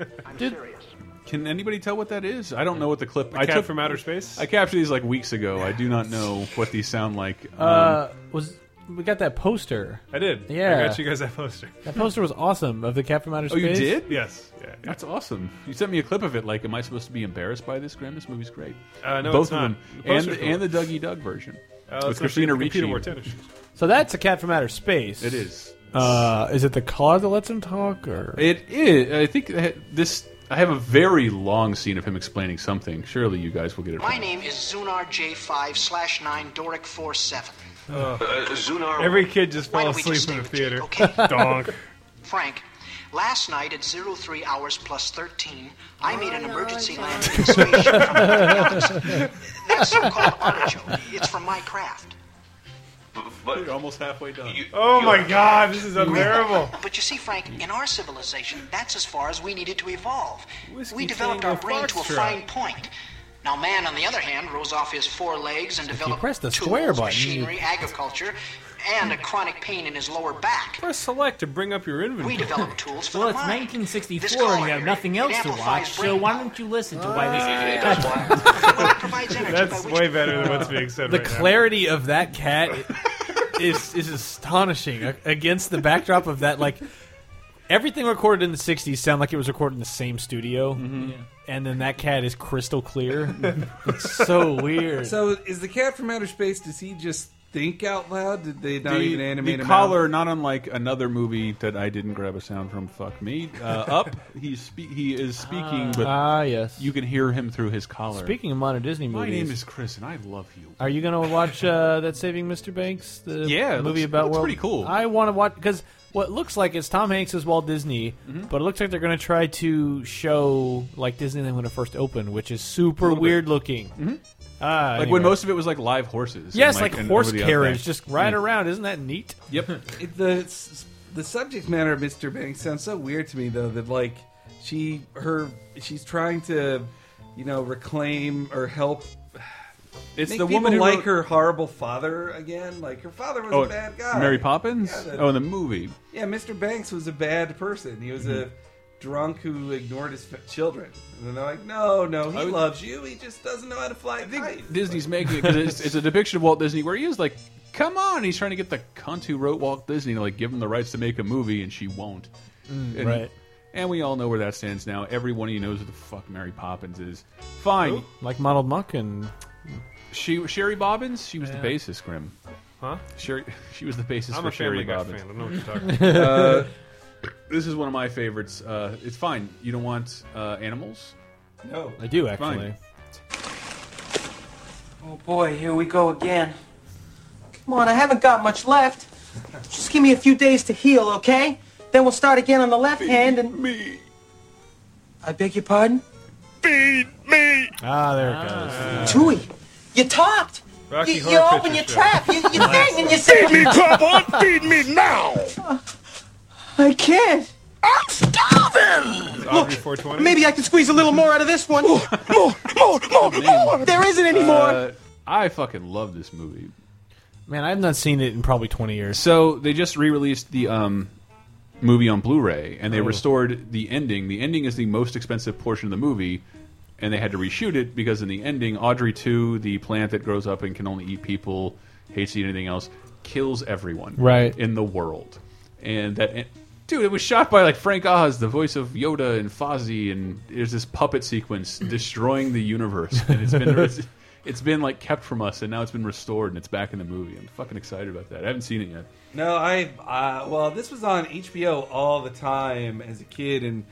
[SPEAKER 5] Can anybody tell what that is? I don't know what the clip. I
[SPEAKER 4] Cat
[SPEAKER 5] took
[SPEAKER 4] from outer space.
[SPEAKER 5] I captured these like weeks ago. I do not know what these sound like. Um,
[SPEAKER 6] uh, was we got that poster?
[SPEAKER 4] I did.
[SPEAKER 6] Yeah.
[SPEAKER 4] I got you guys that poster.
[SPEAKER 6] That poster was awesome of the cat from outer
[SPEAKER 5] oh,
[SPEAKER 6] space.
[SPEAKER 5] you did?
[SPEAKER 4] Yes. Yeah. yeah.
[SPEAKER 5] That's awesome. You sent me a clip of it. Like, am I supposed to be embarrassed by this, Graham? This movie's great.
[SPEAKER 4] Uh, no,
[SPEAKER 5] Both
[SPEAKER 4] it's
[SPEAKER 5] of
[SPEAKER 4] not.
[SPEAKER 5] them,
[SPEAKER 4] The
[SPEAKER 5] and
[SPEAKER 4] poster's
[SPEAKER 5] and the Dougie Doug version
[SPEAKER 4] Uh, let's
[SPEAKER 5] with
[SPEAKER 4] not
[SPEAKER 5] Christina
[SPEAKER 4] see the computer
[SPEAKER 5] Ricci.
[SPEAKER 4] wore tennis shoes.
[SPEAKER 6] So that's a cat from outer space.
[SPEAKER 5] It is.
[SPEAKER 6] Uh, is it the car that lets him talk, or
[SPEAKER 5] It is. I think that this. I have a very long scene of him explaining something. Surely you guys will get it.
[SPEAKER 2] My
[SPEAKER 5] Right.
[SPEAKER 2] name is Zunar J5 slash 9 Doric 47.
[SPEAKER 10] Oh.
[SPEAKER 4] Every kid just
[SPEAKER 2] Why
[SPEAKER 4] fell
[SPEAKER 2] don't we
[SPEAKER 4] asleep
[SPEAKER 2] just
[SPEAKER 4] in the
[SPEAKER 2] stay
[SPEAKER 4] theater.
[SPEAKER 2] with Jake, okay?
[SPEAKER 4] Donk.
[SPEAKER 2] Frank, last night at 03 hours plus 13, I made an emergency landing in space from another galaxy. That's so-called artichoke. It's from my craft.
[SPEAKER 5] You're almost halfway done.
[SPEAKER 4] Oh my god, this is unbearable.
[SPEAKER 2] But you see, Frank, in our civilization, that's as far as we needed to evolve.
[SPEAKER 4] Whiskey
[SPEAKER 2] we developed our
[SPEAKER 4] Tango
[SPEAKER 2] brain to a
[SPEAKER 4] Foxtrot.
[SPEAKER 2] fine point. Now, man, on the other hand, rose off his four legs and developed
[SPEAKER 6] press the
[SPEAKER 2] tools,
[SPEAKER 6] square button,
[SPEAKER 2] machinery, agriculture, and a chronic pain in his lower back.
[SPEAKER 4] Press select to bring up your
[SPEAKER 2] We
[SPEAKER 4] inventory.
[SPEAKER 2] developed tools for
[SPEAKER 7] Well,
[SPEAKER 2] the
[SPEAKER 7] it's
[SPEAKER 2] mind. This
[SPEAKER 7] 1964
[SPEAKER 2] color
[SPEAKER 7] and you have
[SPEAKER 2] area,
[SPEAKER 7] nothing
[SPEAKER 2] it
[SPEAKER 7] else to
[SPEAKER 2] amplifies
[SPEAKER 7] watch, so
[SPEAKER 2] brain
[SPEAKER 7] why
[SPEAKER 2] power.
[SPEAKER 7] don't you listen to why this
[SPEAKER 2] Well, it provides energy by
[SPEAKER 4] That's
[SPEAKER 2] which
[SPEAKER 4] way better than what's being said
[SPEAKER 6] the
[SPEAKER 4] right
[SPEAKER 6] clarity of that cat is is astonishing a- against the backdrop of that like everything recorded in the 60s sound like it was recorded in the same studio
[SPEAKER 5] Mm-hmm.
[SPEAKER 6] and then that cat is crystal clear it's so weird
[SPEAKER 3] So is the cat from outer space? Does he just think out loud? Did they not
[SPEAKER 5] the,
[SPEAKER 3] even animate
[SPEAKER 5] the
[SPEAKER 3] him?
[SPEAKER 5] collar, not unlike another movie that I didn't grab a sound from. Fuck me. Uh, up. He's spe he is speaking, but
[SPEAKER 3] Uh,
[SPEAKER 6] ah yes
[SPEAKER 5] you can hear him through his collar.
[SPEAKER 6] speaking of modern disney
[SPEAKER 5] My
[SPEAKER 6] movies
[SPEAKER 5] name is Chris, and I love you.
[SPEAKER 6] are you gonna watch uh, that saving mr banks the
[SPEAKER 5] Yeah, it
[SPEAKER 6] movie
[SPEAKER 5] looks-
[SPEAKER 6] about
[SPEAKER 5] looks
[SPEAKER 6] world
[SPEAKER 5] pretty cool.
[SPEAKER 6] i want to watch because what looks like it's Tom Hanks as Walt Disney,
[SPEAKER 5] Mm-hmm.
[SPEAKER 6] but it looks like they're going to try to show like Disneyland when it first opened, which is super weird looking. Ah,
[SPEAKER 5] Mm-hmm. Like
[SPEAKER 6] anyway.
[SPEAKER 5] when most of it was like live horses.
[SPEAKER 6] Yes,
[SPEAKER 5] and,
[SPEAKER 6] like,
[SPEAKER 5] and
[SPEAKER 6] horse
[SPEAKER 5] over-the-top
[SPEAKER 6] carriage,
[SPEAKER 5] thing.
[SPEAKER 6] just ride around. Isn't that neat?
[SPEAKER 5] Yep.
[SPEAKER 3] It- the the subject matter of Mr. Banks sounds so weird to me though that like she her she's trying to you know reclaim or help
[SPEAKER 5] It's
[SPEAKER 3] Make
[SPEAKER 5] the
[SPEAKER 3] people
[SPEAKER 5] woman who
[SPEAKER 3] like
[SPEAKER 5] wrote-
[SPEAKER 3] her horrible father again. Like her father was
[SPEAKER 5] Oh,
[SPEAKER 3] a bad guy.
[SPEAKER 5] Mary Poppins.
[SPEAKER 3] Yeah, the-
[SPEAKER 5] oh, in the movie.
[SPEAKER 3] Yeah, Mr. Banks was a bad person. He was
[SPEAKER 5] Mm-hmm.
[SPEAKER 3] a drunk who ignored his f- children. And then they're like, no, no, he
[SPEAKER 5] I would-
[SPEAKER 3] loves you. He just doesn't know how to fly a kite.
[SPEAKER 5] Disney's making it because it's, it's a depiction of Walt Disney where he is like, come on, he's trying to get the cunt who wrote Walt Disney to like give him the rights to make a movie, and she won't. and,
[SPEAKER 6] right.
[SPEAKER 5] And we all know where that stands now. Every one of you knows who the fuck Mary Poppins is. Fine.
[SPEAKER 6] Like Model Monk and
[SPEAKER 5] She Sherry Bobbins. She was the basis, Grim.
[SPEAKER 4] Huh?
[SPEAKER 5] Sherry. She was the basis
[SPEAKER 4] I'm
[SPEAKER 5] for
[SPEAKER 4] a Family
[SPEAKER 5] Sherry
[SPEAKER 4] Guy
[SPEAKER 5] Bobbins.
[SPEAKER 4] fan. I don't know what you're talking about.
[SPEAKER 5] This is one of my favorites. Uh, it's fine. You don't want uh, animals.
[SPEAKER 3] No.
[SPEAKER 6] I do actually.
[SPEAKER 5] Fine.
[SPEAKER 11] Oh boy, here we go again. Come on, I haven't got much left. Just give me a few days to heal, okay? Then we'll start again on the left hand and. Me. I beg your pardon?
[SPEAKER 6] Ah, there it goes.
[SPEAKER 11] Tui, you talked!
[SPEAKER 4] Rocky
[SPEAKER 11] you you
[SPEAKER 4] Horror
[SPEAKER 11] open your
[SPEAKER 4] Picture Show.
[SPEAKER 11] trap, you, you thing, and you say. Feed me, Pop, feed me now! I can't. I'm starving!
[SPEAKER 4] It's Audrey 420.
[SPEAKER 11] Maybe I can squeeze a little more out of this one. More, more, more, more, more! There isn't any more!
[SPEAKER 5] Uh, I fucking love this movie.
[SPEAKER 6] Man, I've not seen it in probably twenty years.
[SPEAKER 5] So they just re-released the um, movie on Blu-ray, and they restored the ending. The ending is the most expensive portion of the movie, and they had to reshoot it because in the ending, Audrey two, the plant that grows up and can only eat people, hates to eat anything else, kills everyone
[SPEAKER 6] Right.
[SPEAKER 5] in the world. And that, and- dude, it was shot by like Frank Oz, the voice of Yoda and Fozzie, and there's this puppet sequence destroying the universe, and it's been. It's, it's been like kept from us, and now it's been restored, and it's back in the movie. I'm fucking excited about that. I haven't seen it yet.
[SPEAKER 3] No, I uh, well, this was on HBO all the time as a kid, and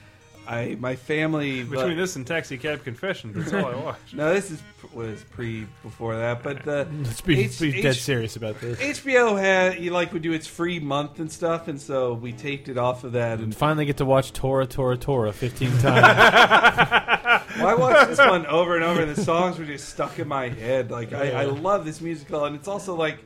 [SPEAKER 3] I my family.
[SPEAKER 4] Between this and Taxi Cab Confessions, that's all I watched.
[SPEAKER 3] no, this is was pre before that, but the
[SPEAKER 6] Let's be,
[SPEAKER 3] H-
[SPEAKER 6] be dead
[SPEAKER 3] H-
[SPEAKER 6] serious about this.
[SPEAKER 3] HBO had you like would do its free month and stuff, and so we taped it off of that. And
[SPEAKER 6] Finally, get to watch Tora Tora Tora fifteen times.
[SPEAKER 3] well, I watched this one over and over, and the songs were just stuck in my head. Like I, I love this musical, and it's also like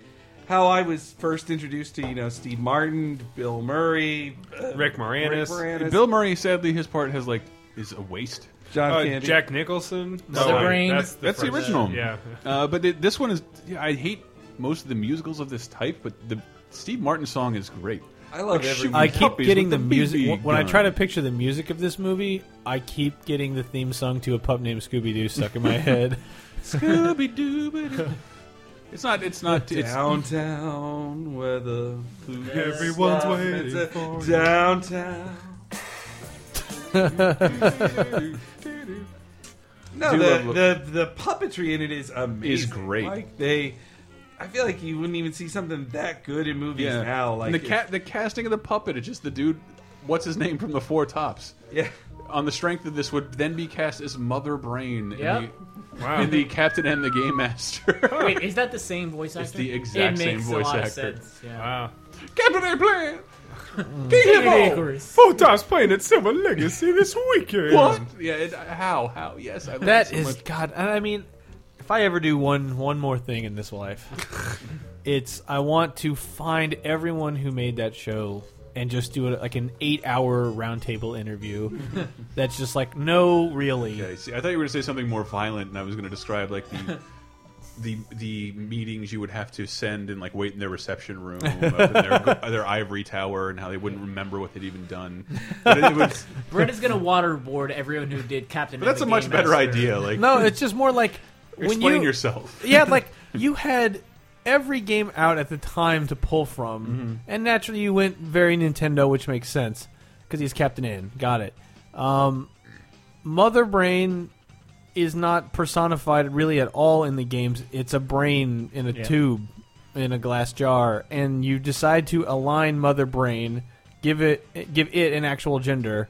[SPEAKER 3] how I was first introduced to you know Steve Martin, Bill Murray, uh,
[SPEAKER 4] Rick Moranis.
[SPEAKER 3] Moranis,
[SPEAKER 5] Bill Murray, sadly, his part has like is a waste.
[SPEAKER 3] John
[SPEAKER 4] Uh,
[SPEAKER 3] Candy.
[SPEAKER 4] Jack Nicholson.
[SPEAKER 7] The
[SPEAKER 4] wait,
[SPEAKER 7] Brain.
[SPEAKER 4] the
[SPEAKER 5] That's the
[SPEAKER 4] first-
[SPEAKER 5] original.
[SPEAKER 4] Yeah.
[SPEAKER 5] Uh, but th this one is. yeah, I hate most of the musicals of this type, but the Steve Martin song is great.
[SPEAKER 3] I love every.
[SPEAKER 6] I keep
[SPEAKER 5] Puppies
[SPEAKER 6] getting
[SPEAKER 5] with
[SPEAKER 6] the
[SPEAKER 5] the
[SPEAKER 6] music.
[SPEAKER 5] BB
[SPEAKER 6] When when I try to
[SPEAKER 5] gun.
[SPEAKER 6] picture the music of this movie, I keep getting the theme song to a pup named Scooby Doo stuck in my head.
[SPEAKER 5] Scooby Doo. It's not. It's not. It's
[SPEAKER 3] Downtown, where the food is
[SPEAKER 4] Everyone's
[SPEAKER 3] soft.
[SPEAKER 4] waiting
[SPEAKER 3] It's a downtown. no,
[SPEAKER 5] Do
[SPEAKER 3] the,
[SPEAKER 5] love-
[SPEAKER 3] the the puppetry in it is amazing.
[SPEAKER 5] Is great.
[SPEAKER 3] Like they, I feel like you wouldn't even see something that good in movies
[SPEAKER 5] yeah.
[SPEAKER 3] now. Like
[SPEAKER 5] And the
[SPEAKER 3] it's-
[SPEAKER 5] cat, the casting of the puppet. It's just the dude. What's his name from the Four Tops?
[SPEAKER 3] yeah.
[SPEAKER 5] On the strength of this, would then be cast as Mother Brain
[SPEAKER 7] Yep.
[SPEAKER 5] in, the,
[SPEAKER 4] Wow.
[SPEAKER 5] in the Captain and the Game Master.
[SPEAKER 7] Wait, is that the same voice actor?
[SPEAKER 5] the exact
[SPEAKER 7] it
[SPEAKER 5] same
[SPEAKER 7] makes
[SPEAKER 5] voice
[SPEAKER 7] a lot
[SPEAKER 5] actor.
[SPEAKER 7] Of sense. Yeah.
[SPEAKER 4] Wow.
[SPEAKER 5] Captain and Plan.
[SPEAKER 6] Mm.
[SPEAKER 7] Icarus.
[SPEAKER 4] Photos playing at Silver Legacy this weekend.
[SPEAKER 5] What? Yeah. It, how? How? Yes. I love it
[SPEAKER 6] That
[SPEAKER 5] so
[SPEAKER 6] is
[SPEAKER 5] much.
[SPEAKER 6] God. and I mean, if I ever do one one more thing in this life, it's I want to find everyone who made that show and just do it like an eight hour roundtable interview. that's just like no, really.
[SPEAKER 5] Okay, see, I thought you were going to say something more violent, and I was going to describe like the the the meetings you would have to send and like wait in their reception room, up in their, their ivory tower, and how they wouldn't remember what they'd even done. But, it was,
[SPEAKER 7] Brett is gonna waterboard everyone who did Captain.
[SPEAKER 5] but that's a much better idea. Like,
[SPEAKER 6] No, it's just more like when
[SPEAKER 5] explain
[SPEAKER 6] you
[SPEAKER 5] yourself.
[SPEAKER 6] yeah, like you had every game out at the time to pull from, and naturally you went very Nintendo, which makes sense because he's Captain In. Got it. Um, Mother Brain is not personified really at all in the games. It's a brain in a tube in a glass jar, and you decide to align Mother Brain, give it give it an actual gender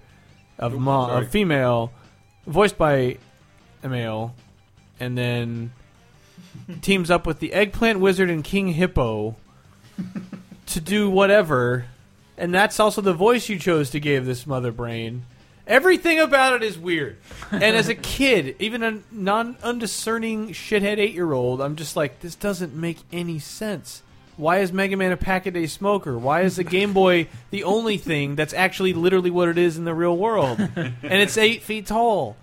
[SPEAKER 6] of ma- of female, voiced by a male, and then teams up with the eggplant wizard and King Hippo to do whatever, and that's also the voice you chose to give this mother brain. Everything about it is weird. And as a kid, even a non undiscerning shithead eight year old, I'm just like, this doesn't make any sense. Why is Mega Man a pack a day smoker? Why is the Game Boy the only thing that's actually literally what it is in the real world? And it's eight feet tall.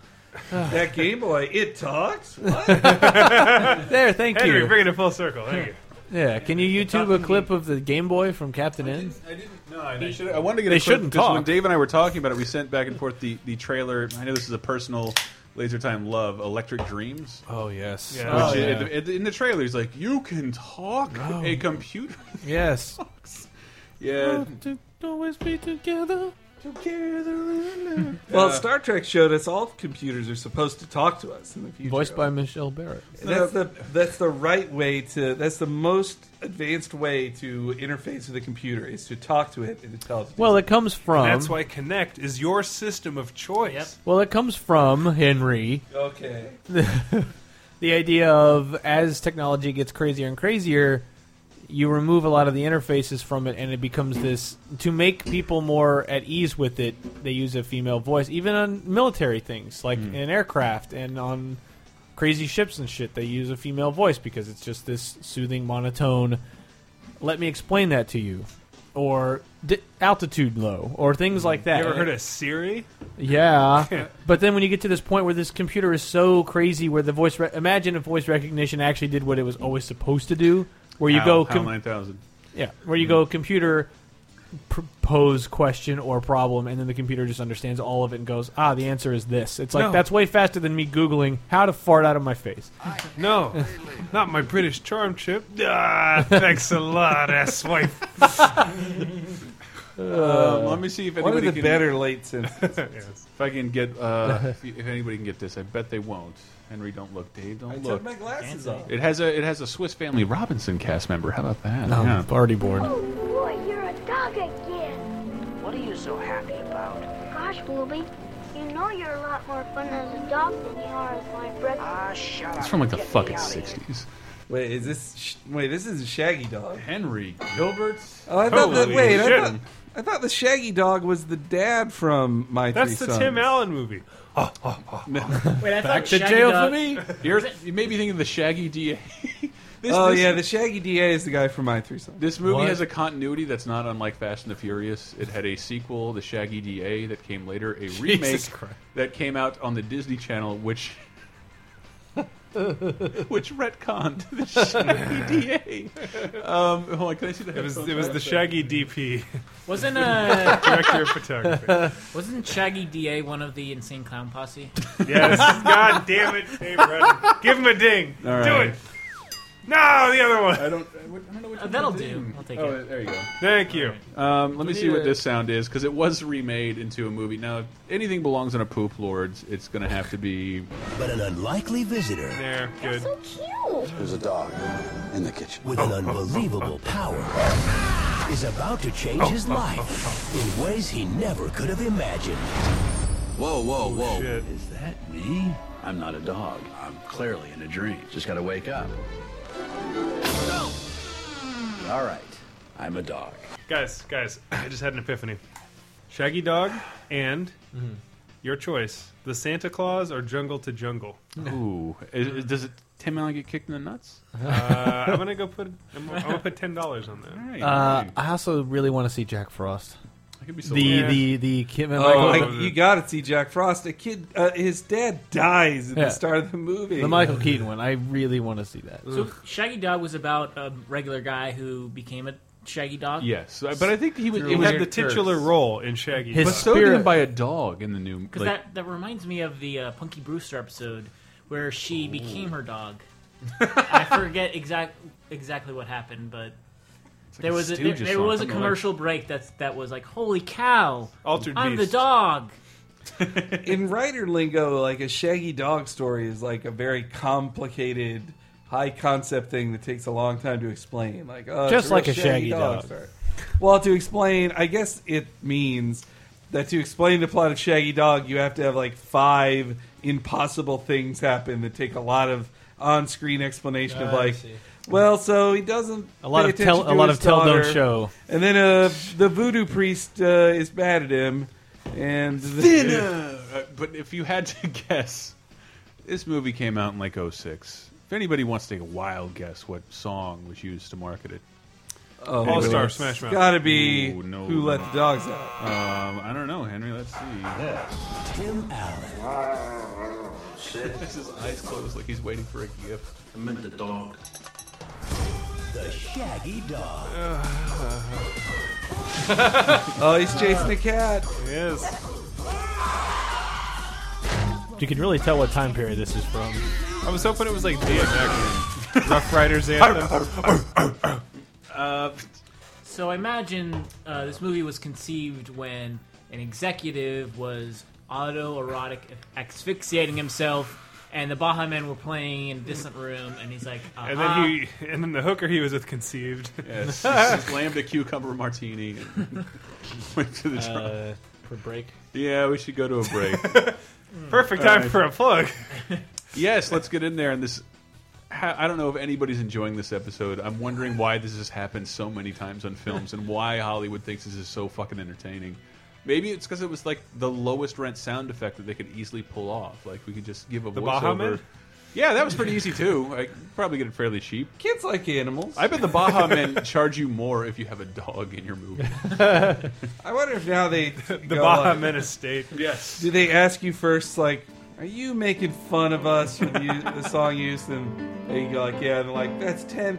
[SPEAKER 3] that Game Boy, it talks. What?
[SPEAKER 6] there, thank
[SPEAKER 4] Henry,
[SPEAKER 6] you.
[SPEAKER 4] bringing it full circle. Thank you.
[SPEAKER 6] Yeah, can you YouTube a clip of the Game Boy from Captain N?
[SPEAKER 5] I didn't. No, I, should, I wanted to get.
[SPEAKER 6] They
[SPEAKER 5] a clip,
[SPEAKER 6] shouldn't
[SPEAKER 5] because
[SPEAKER 6] talk.
[SPEAKER 5] When Dave and I were talking about it, we sent back and forth the the trailer. I know this is a personal laser time love. Electric Dreams.
[SPEAKER 6] Oh yes.
[SPEAKER 5] Which
[SPEAKER 4] Oh,
[SPEAKER 5] i-
[SPEAKER 4] yeah.
[SPEAKER 5] in the- in the trailer, he's like, "You can talk a computer."
[SPEAKER 6] Yes.
[SPEAKER 5] yeah.
[SPEAKER 6] To always be together.
[SPEAKER 5] Together.
[SPEAKER 3] Well, Star Trek showed us all computers are supposed to talk to us in the future.
[SPEAKER 6] Voiced by Michelle Barrett.
[SPEAKER 3] That's the that's the right way to. That's the most advanced way to interface with a computer is to talk to it and to tell it.
[SPEAKER 6] Well, it comes
[SPEAKER 5] Um,
[SPEAKER 6] from.
[SPEAKER 4] That's why Connect is your system of choice.
[SPEAKER 7] Yep.
[SPEAKER 6] Well, it comes from Henry.
[SPEAKER 3] okay.
[SPEAKER 6] The idea of as technology gets crazier and crazier, you remove a lot of the interfaces from it, and it becomes this. To make people more at ease with it, they use a female voice, even on military things like in aircraft and on crazy ships and shit. They use a female voice because it's just this soothing monotone. Let me explain that to you, or d- altitude low, or things like that.
[SPEAKER 4] You ever heard of Siri?
[SPEAKER 6] Yeah, but then when you get to this point where this computer is so crazy, where the voice re- imagine if voice recognition actually did what it was always supposed to do, where you go, com-
[SPEAKER 5] nine thousand.
[SPEAKER 6] yeah, where you
[SPEAKER 5] Mm-hmm.
[SPEAKER 6] go computer pr- pose question or problem, and then the computer just understands all of it and goes, ah, the answer is this. It's like
[SPEAKER 4] No.
[SPEAKER 6] that's way faster than me googling how to fart out of my face.
[SPEAKER 4] No, not my British charm chip. Ah, thanks a lot, asswife.
[SPEAKER 5] Um, let me see if
[SPEAKER 3] One of
[SPEAKER 5] anybody
[SPEAKER 3] the
[SPEAKER 5] can,
[SPEAKER 3] better late since.
[SPEAKER 5] If I can get, uh, if if anybody can get this, I bet they won't. Henry, don't look. Dave, don't
[SPEAKER 3] I
[SPEAKER 5] look.
[SPEAKER 3] took my glasses off.
[SPEAKER 5] It has a it has a Swiss Family Robinson cast member. How about that?
[SPEAKER 6] I'm
[SPEAKER 5] Yeah.
[SPEAKER 6] already bored.
[SPEAKER 12] Oh boy, you're a dog again.
[SPEAKER 2] What are you so happy about?
[SPEAKER 12] Gosh, Blueby, you know you're a lot more fun as a dog than you are as my brother.
[SPEAKER 2] Ah, shut up.
[SPEAKER 5] It's from like the
[SPEAKER 2] Get me
[SPEAKER 5] fucking
[SPEAKER 2] out of here.
[SPEAKER 5] sixties.
[SPEAKER 3] Wait, is this? Sh- wait, this is a Shaggy Dog.
[SPEAKER 5] Henry Gilbert.
[SPEAKER 3] Oh, I thought that.
[SPEAKER 4] Holy
[SPEAKER 3] Wait, I
[SPEAKER 4] shit.
[SPEAKER 3] thought, I thought the Shaggy Dog was the dad from My
[SPEAKER 4] That's
[SPEAKER 3] Three
[SPEAKER 4] the
[SPEAKER 3] Sons.
[SPEAKER 4] Tim Allen movie.
[SPEAKER 7] Wait, I
[SPEAKER 6] Back
[SPEAKER 7] thought
[SPEAKER 6] to
[SPEAKER 7] Shaggy
[SPEAKER 6] jail
[SPEAKER 7] Dog-
[SPEAKER 6] for me.
[SPEAKER 5] You're, you may be thinking of the Shaggy DA. this,
[SPEAKER 3] Oh
[SPEAKER 5] this,
[SPEAKER 3] yeah, the Shaggy DA is the guy from My Three Sons.
[SPEAKER 5] This movie
[SPEAKER 6] What?
[SPEAKER 5] has a continuity that's not unlike Fast and the Furious. It had a sequel, The Shaggy DA, that came later, a remake
[SPEAKER 6] Christ.
[SPEAKER 5] that came out on the Disney Channel, which which retconned the Shaggy DA. Um, hold on, can I see the
[SPEAKER 4] It was
[SPEAKER 5] headphones?
[SPEAKER 4] it was the Shaggy DP,
[SPEAKER 7] Wasn't uh,
[SPEAKER 4] director of photography.
[SPEAKER 7] wasn't Shaggy Da one of the insane clown posse?
[SPEAKER 4] Yes, God damn it, Dave Rudden. Give him a ding.
[SPEAKER 5] All
[SPEAKER 4] Do
[SPEAKER 5] right.
[SPEAKER 4] it. No, the other one.
[SPEAKER 5] I don't, I don't know which
[SPEAKER 7] Uh,
[SPEAKER 5] one
[SPEAKER 7] that'll
[SPEAKER 5] it
[SPEAKER 7] do.
[SPEAKER 5] is.
[SPEAKER 7] I'll take
[SPEAKER 5] oh,
[SPEAKER 7] it.
[SPEAKER 5] there you go.
[SPEAKER 4] Thank you.
[SPEAKER 5] Um, let me see
[SPEAKER 6] need
[SPEAKER 5] what
[SPEAKER 6] a-
[SPEAKER 5] this sound is because it was remade into a movie. Now, if anything belongs on a poop lord, it's going to have to be.
[SPEAKER 10] But an unlikely visitor
[SPEAKER 4] There, good.
[SPEAKER 12] So cute.
[SPEAKER 10] There's a dog in the kitchen with an unbelievable power is about to change his life in ways he never could have imagined. Whoa, whoa, whoa.
[SPEAKER 4] shit.
[SPEAKER 10] Is that me? I'm not a dog. I'm clearly in a dream. Just gotta wake up. All right. I'm a dog.
[SPEAKER 4] Guys, guys, I just had an epiphany. Shaggy Dog and your choice, the Santa Claus or Jungle to Jungle.
[SPEAKER 5] Ooh. Is- is- does it Tim Allen get kicked in the nuts?
[SPEAKER 4] Uh, I'm gonna go put. I'm, I'm gonna put ten dollars on that.
[SPEAKER 5] All right.
[SPEAKER 6] Uh, I also really want to see Jack Frost.
[SPEAKER 5] I could be so
[SPEAKER 6] The
[SPEAKER 5] wrong.
[SPEAKER 6] the the Kim and
[SPEAKER 3] Oh,
[SPEAKER 6] Michael,
[SPEAKER 3] I, you got to see Jack Frost. A kid, uh, his dad dies at
[SPEAKER 6] Yeah.
[SPEAKER 3] the start of the movie.
[SPEAKER 6] the Michael Keaton one. I really want to see that.
[SPEAKER 7] So Shaggy Dog was about a regular guy who became a Shaggy Dog.
[SPEAKER 5] Yes, but I think he was. It
[SPEAKER 4] He
[SPEAKER 5] was
[SPEAKER 4] had the titular role in Shaggy.
[SPEAKER 6] His
[SPEAKER 4] Dog.
[SPEAKER 5] bestowed
[SPEAKER 6] spirit-
[SPEAKER 5] him by a dog in the new.
[SPEAKER 7] Because that, that reminds me of the uh, Punky Brewster episode where she became her dog. I forget exact exactly what happened, but there was a, there, there was a commercial break that's that was like, "Holy cow,
[SPEAKER 4] Altered
[SPEAKER 7] I'm
[SPEAKER 4] Beast.
[SPEAKER 7] the dog."
[SPEAKER 3] in writer lingo, like a shaggy dog story is like a very complicated, high concept thing that takes a long time to explain. Like oh, it's
[SPEAKER 6] Just
[SPEAKER 3] real
[SPEAKER 6] like a shaggy dog.
[SPEAKER 3] story. Well, to explain, I guess it means that to explain the plot of Shaggy Dog, you have to have like five impossible things happen that take a lot of on-screen explanation of like. Well, so he doesn't.
[SPEAKER 6] A lot
[SPEAKER 3] pay
[SPEAKER 6] of tell
[SPEAKER 3] attention
[SPEAKER 6] a
[SPEAKER 3] to
[SPEAKER 6] lot
[SPEAKER 3] his
[SPEAKER 6] of tell don't
[SPEAKER 3] daughter.
[SPEAKER 6] show.
[SPEAKER 3] And then uh, the voodoo priest uh, is mad at him, and the,
[SPEAKER 5] Uh, but if you had to guess, this movie came out in oh like 06. If anybody wants to take a wild guess, what song was used to market it?
[SPEAKER 3] Oh,
[SPEAKER 4] All
[SPEAKER 3] wait.
[SPEAKER 4] Star Smash Mouth.
[SPEAKER 3] Gotta be
[SPEAKER 5] Ooh, no.
[SPEAKER 3] who let the dogs out.
[SPEAKER 5] Um, I don't know, Henry. Let's see.
[SPEAKER 10] Tim Allen.
[SPEAKER 5] That's his eyes closed, like he's waiting for a gift.
[SPEAKER 10] I meant the dog. The shaggy dog.
[SPEAKER 3] oh, he's chasing a cat.
[SPEAKER 4] Yes.
[SPEAKER 6] You can really tell what time period this is from.
[SPEAKER 4] I was hoping it was like DMX, Rough Riders anthem.
[SPEAKER 7] Uh, so I imagine uh, this movie was conceived when an executive was autoerotic asphyxiating himself, and the Baja Men were playing in a distant room, and he's like, uh
[SPEAKER 4] and then he, and then the hooker he was with conceived.
[SPEAKER 5] Yes. Slammed a cucumber martini and went to the
[SPEAKER 6] Uh,
[SPEAKER 5] truck.
[SPEAKER 6] for break.
[SPEAKER 5] Yeah, we should go to a break.
[SPEAKER 4] Perfect
[SPEAKER 5] All
[SPEAKER 4] time
[SPEAKER 5] right.
[SPEAKER 4] for a plug.
[SPEAKER 5] yes, let's get in there. And this, ha- I don't know if anybody's enjoying this episode. I'm wondering why this has happened so many times on films and why Hollywood thinks this is so fucking entertaining. Maybe it's because it was like the lowest rent sound effect that they could easily pull off. Like we could just give a
[SPEAKER 4] The Baha Men?
[SPEAKER 5] voiceover. Yeah, that was pretty easy too. I could probably get it fairly cheap.
[SPEAKER 3] Kids like animals.
[SPEAKER 5] I bet the Baja Men charge you more if you have a dog in your movie.
[SPEAKER 3] I wonder if now they
[SPEAKER 4] The Baja Men estate. Yes.
[SPEAKER 3] Do they ask you first, like, are you making fun of us with you, the song use? And they go like, yeah, and they're like, that's ten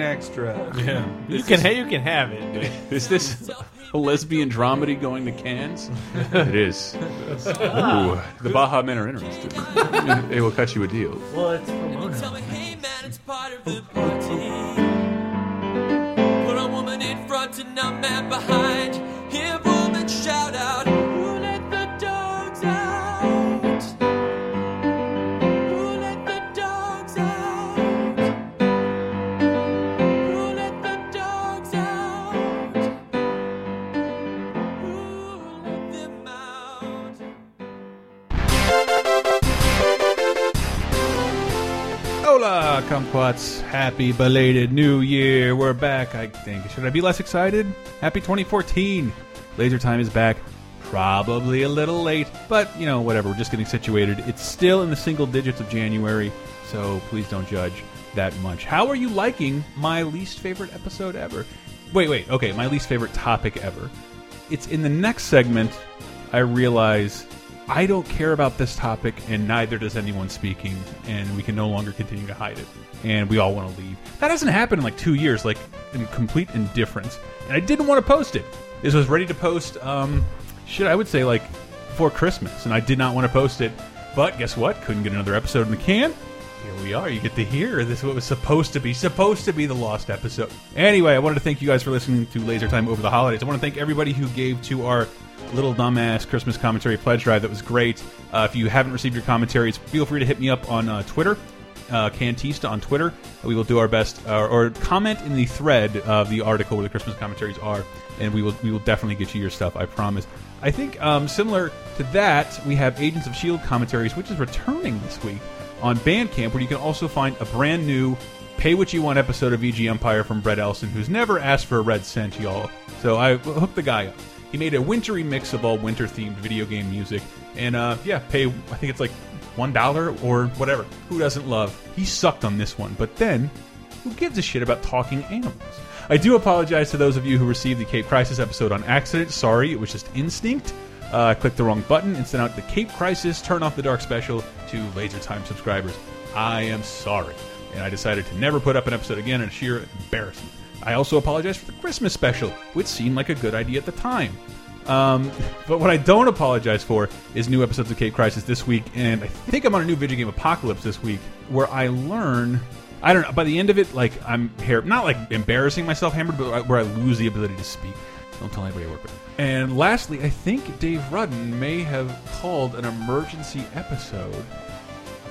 [SPEAKER 3] extra.
[SPEAKER 5] Yeah.
[SPEAKER 6] You can ha- you can have it.
[SPEAKER 5] Is this a lesbian dramedy going to Cannes? it is. Ooh, the Baja Men are interested. they will cut you a deal.
[SPEAKER 7] Well, it's Pomona.
[SPEAKER 13] Hey man, it's part of the party. Put a woman in front and a man behind. Hear woman shout out, Who let the dogs out? Who let the dogs out? Who let the dogs out? Who let them out?
[SPEAKER 5] Hola, kumquats. Happy belated New Year. We're back, I think. Should I be less excited? Happy 2014. Laser Time is back. Probably a little late, but you know, whatever. We're just getting situated. It's still in the single digits of January, so please don't judge that much. How are you liking my least favorite episode ever? Wait, wait. Okay, my least favorite topic ever. It's in the next segment I realize I don't care about this topic, and neither does anyone speaking, and we can no longer continue to hide it. And we all want to leave. That hasn't happened in like two years, like in complete indifference. And I didn't want to post it. This was ready to post, um, shit, I would say like before Christmas, and I did not want to post it. But guess what? Couldn't get another episode in the can. Here we are. You get to hear this is what was supposed to be supposed to be the lost episode. Anyway, I wanted to thank you guys for listening to Laser Time over the holidays. I want to thank everybody who gave to our little dumbass Christmas commentary pledge drive. That was great. Uh, if you haven't received your commentaries, feel free to hit me up on uh, Twitter. Uh, Cantista on Twitter. We will do our best, uh, or comment in the thread of the article where the Christmas commentaries are, and we will we will definitely get you your stuff. I promise. I think um, similar to that, we have Agents of Shield E commentaries, which is returning this week on Bandcamp, where you can also find a brand new pay what you want episode of EG Empire from Brett Elson, who's never asked for a red cent, y'all. So I hooked the guy up. He made a wintry mix of all winter themed video game music, and uh, yeah, pay. I think it's like one dollar or whatever. Who doesn't love? He sucked on this one, but then who gives a shit about talking animals? I do apologize to those of you who received the Cape Crisis episode on accident. Sorry, it was just instinct. Uh, I clicked the wrong button and sent out the Cape Crisis Turn Off the Dark special to Laser Time subscribers. I am sorry. And I decided to never put up an episode again in sheer embarrassment. I also apologize for the Christmas special, which seemed like a good idea at the time. Um, but what I don't apologize for is new episodes of Cape Crisis this week, and I think I'm on a new video game Apocalypse this week, where I learn. I don't know. By the end of it, like I'm hair, not like embarrassing myself hammered, but where I lose the ability to speak. Don't tell anybody I work with. And lastly, I think Dave Rudden may have called an emergency episode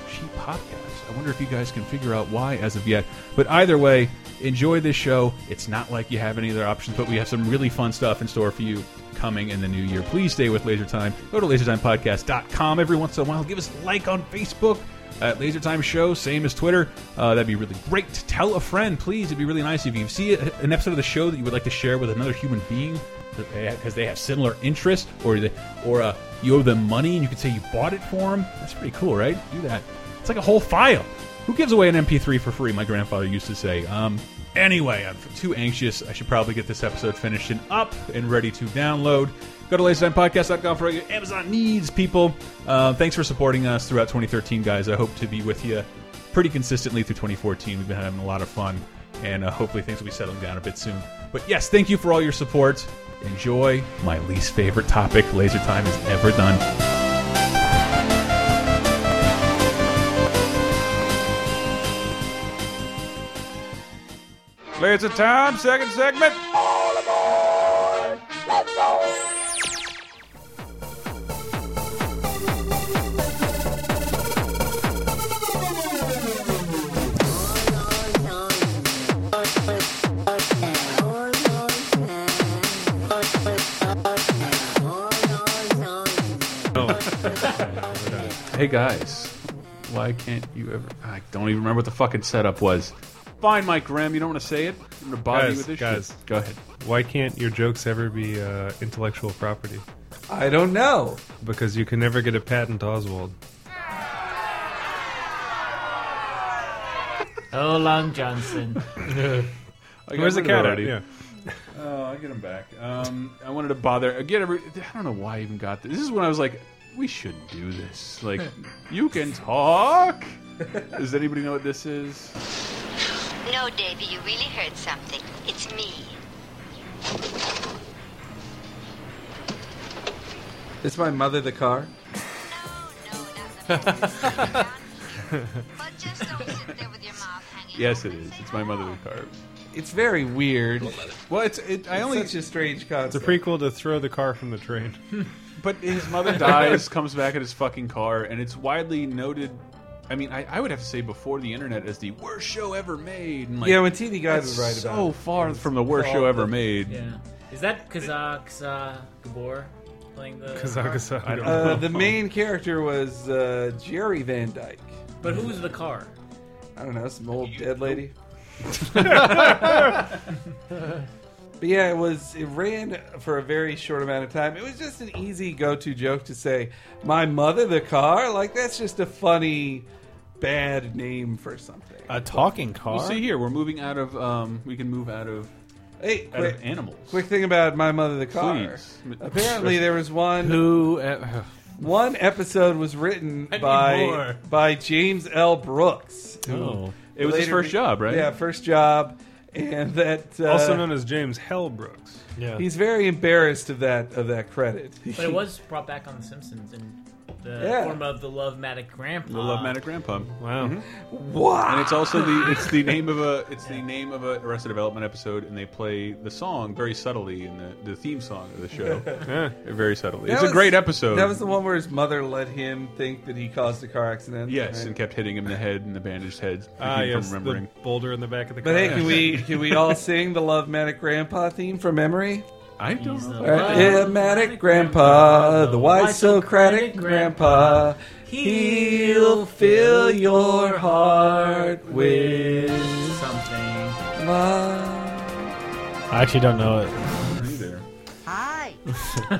[SPEAKER 5] Sheep Podcast. I wonder if you guys can figure out why as of yet. But either way, enjoy this show. It's not like you have any other options, but we have some really fun stuff in store for you coming in the new year. Please stay with Laser Time. Go to lasertimepodcast.com every once in a while. Give us a like on Facebook. At Laser Time Show, same as Twitter. Uh, that'd be really great. Tell a friend, please. It'd be really nice if you see a, an episode of the show that you would like to share with another human being because they have similar interests, or they, or uh, you owe them money and you could say you bought it for them. That's pretty cool, right? Do that. It's like a whole file. Who gives away an MP3 for free? My grandfather used to say. Um, Anyway, I'm too anxious. I should probably get this episode finished and up and ready to download. Go to lasertimepodcast.com for all your Amazon needs, people. Uh, thanks for supporting us throughout 2013, guys. I hope to be with you pretty consistently through 2014. We've been having a lot of fun, and uh, hopefully things will be settling down a bit soon. But yes, thank you for all your support. Enjoy my least favorite topic Laser Time has ever done. Laser Time, second segment. Hey guys, why can't you ever? I don't even remember what the fucking setup was. Fine, Mike Graham, you don't want to say it. I'm gonna bother you
[SPEAKER 4] guys,
[SPEAKER 5] with this
[SPEAKER 4] guys,
[SPEAKER 5] shit. Go ahead.
[SPEAKER 4] Why can't your jokes ever be uh, intellectual property?
[SPEAKER 3] I don't know.
[SPEAKER 4] Because you can never get a patent, Oswald.
[SPEAKER 7] Oh, Long Johnson.
[SPEAKER 5] I got
[SPEAKER 4] Where's the
[SPEAKER 5] rid of it
[SPEAKER 4] cat at?
[SPEAKER 5] already.
[SPEAKER 4] Yeah.
[SPEAKER 5] Oh, I get him back. Um, I wanted to bother again. Every, I don't know why I even got this. This is when I was like, we shouldn't do this. Like, you can talk. Does anybody know what this is?
[SPEAKER 14] No, Davy, you really heard something. It's me.
[SPEAKER 3] It's my mother, the car.
[SPEAKER 5] yes, it is. It's my mother the car.
[SPEAKER 3] It's very weird.
[SPEAKER 5] Well, it's it. I
[SPEAKER 3] It's
[SPEAKER 5] only
[SPEAKER 3] such a strange concept.
[SPEAKER 4] It's a prequel to Throw the Car from the Train.
[SPEAKER 5] But his mother dies, comes back in his fucking car, and it's widely noted. I mean, I, I would have to say before the internet as the worst show ever made. And like,
[SPEAKER 3] yeah, when TV Guide
[SPEAKER 5] that's
[SPEAKER 3] was right about
[SPEAKER 5] so
[SPEAKER 3] it.
[SPEAKER 5] far from the worst show ever made.
[SPEAKER 7] Yeah. Is that Kazaa Kazaa Gabor playing the?
[SPEAKER 5] I don't
[SPEAKER 3] Uh,
[SPEAKER 5] know.
[SPEAKER 3] the main character was uh, Jerry Van Dyke.
[SPEAKER 7] But who's the car?
[SPEAKER 3] I don't know, some old dead lady. But yeah, it was. It ran for a very short amount of time. It was just an easy go-to joke to say, "My mother, the car." Like that's just a funny, bad name for something.
[SPEAKER 6] A talking car.
[SPEAKER 5] You see here, we're moving out of. Um, we can move out of.
[SPEAKER 3] Hey,
[SPEAKER 5] out
[SPEAKER 3] quick,
[SPEAKER 5] of animals.
[SPEAKER 3] Quick thing about my mother, the car.
[SPEAKER 5] Please.
[SPEAKER 3] Apparently, there was one
[SPEAKER 6] who.
[SPEAKER 3] one episode was written
[SPEAKER 5] need
[SPEAKER 3] by
[SPEAKER 5] more.
[SPEAKER 3] by James L. Brooks. who
[SPEAKER 5] Oh. It was his
[SPEAKER 3] later
[SPEAKER 5] first
[SPEAKER 3] be-
[SPEAKER 5] job, right?
[SPEAKER 3] Yeah, first job, and that uh,
[SPEAKER 4] also known as James Hellbrooks.
[SPEAKER 3] He's very embarrassed of that of that credit.
[SPEAKER 7] But it was brought back on The Simpsons in the
[SPEAKER 3] Yeah.
[SPEAKER 7] form of the Love Matic Grandpa.
[SPEAKER 5] The Love Manic Grandpa.
[SPEAKER 4] Wow.
[SPEAKER 3] Ah. Wow.
[SPEAKER 5] And it's also the it's the name of a it's the name of a Arrested Development episode, and they play the song very subtly in the, the theme song of the show, very subtly.
[SPEAKER 3] That
[SPEAKER 5] it's
[SPEAKER 3] was-
[SPEAKER 5] a great episode.
[SPEAKER 3] That was the one where his mother let him think that he caused a car accident.
[SPEAKER 5] yes,
[SPEAKER 3] right?
[SPEAKER 5] and kept hitting him in the head and the bandaged head.
[SPEAKER 4] Ah,
[SPEAKER 5] keep
[SPEAKER 4] yes,
[SPEAKER 5] from
[SPEAKER 4] the
[SPEAKER 5] remembering.
[SPEAKER 4] boulder in the back of the car.
[SPEAKER 3] But hey, can we can we all sing the Love Manic Grandpa theme from memory?
[SPEAKER 5] I don't know.
[SPEAKER 3] All right. Yeah, Manic Grandpa, the wise Socratic Grandpa, he'll fill your heart with
[SPEAKER 7] something.
[SPEAKER 3] love.
[SPEAKER 6] I actually don't know it.
[SPEAKER 14] Hi.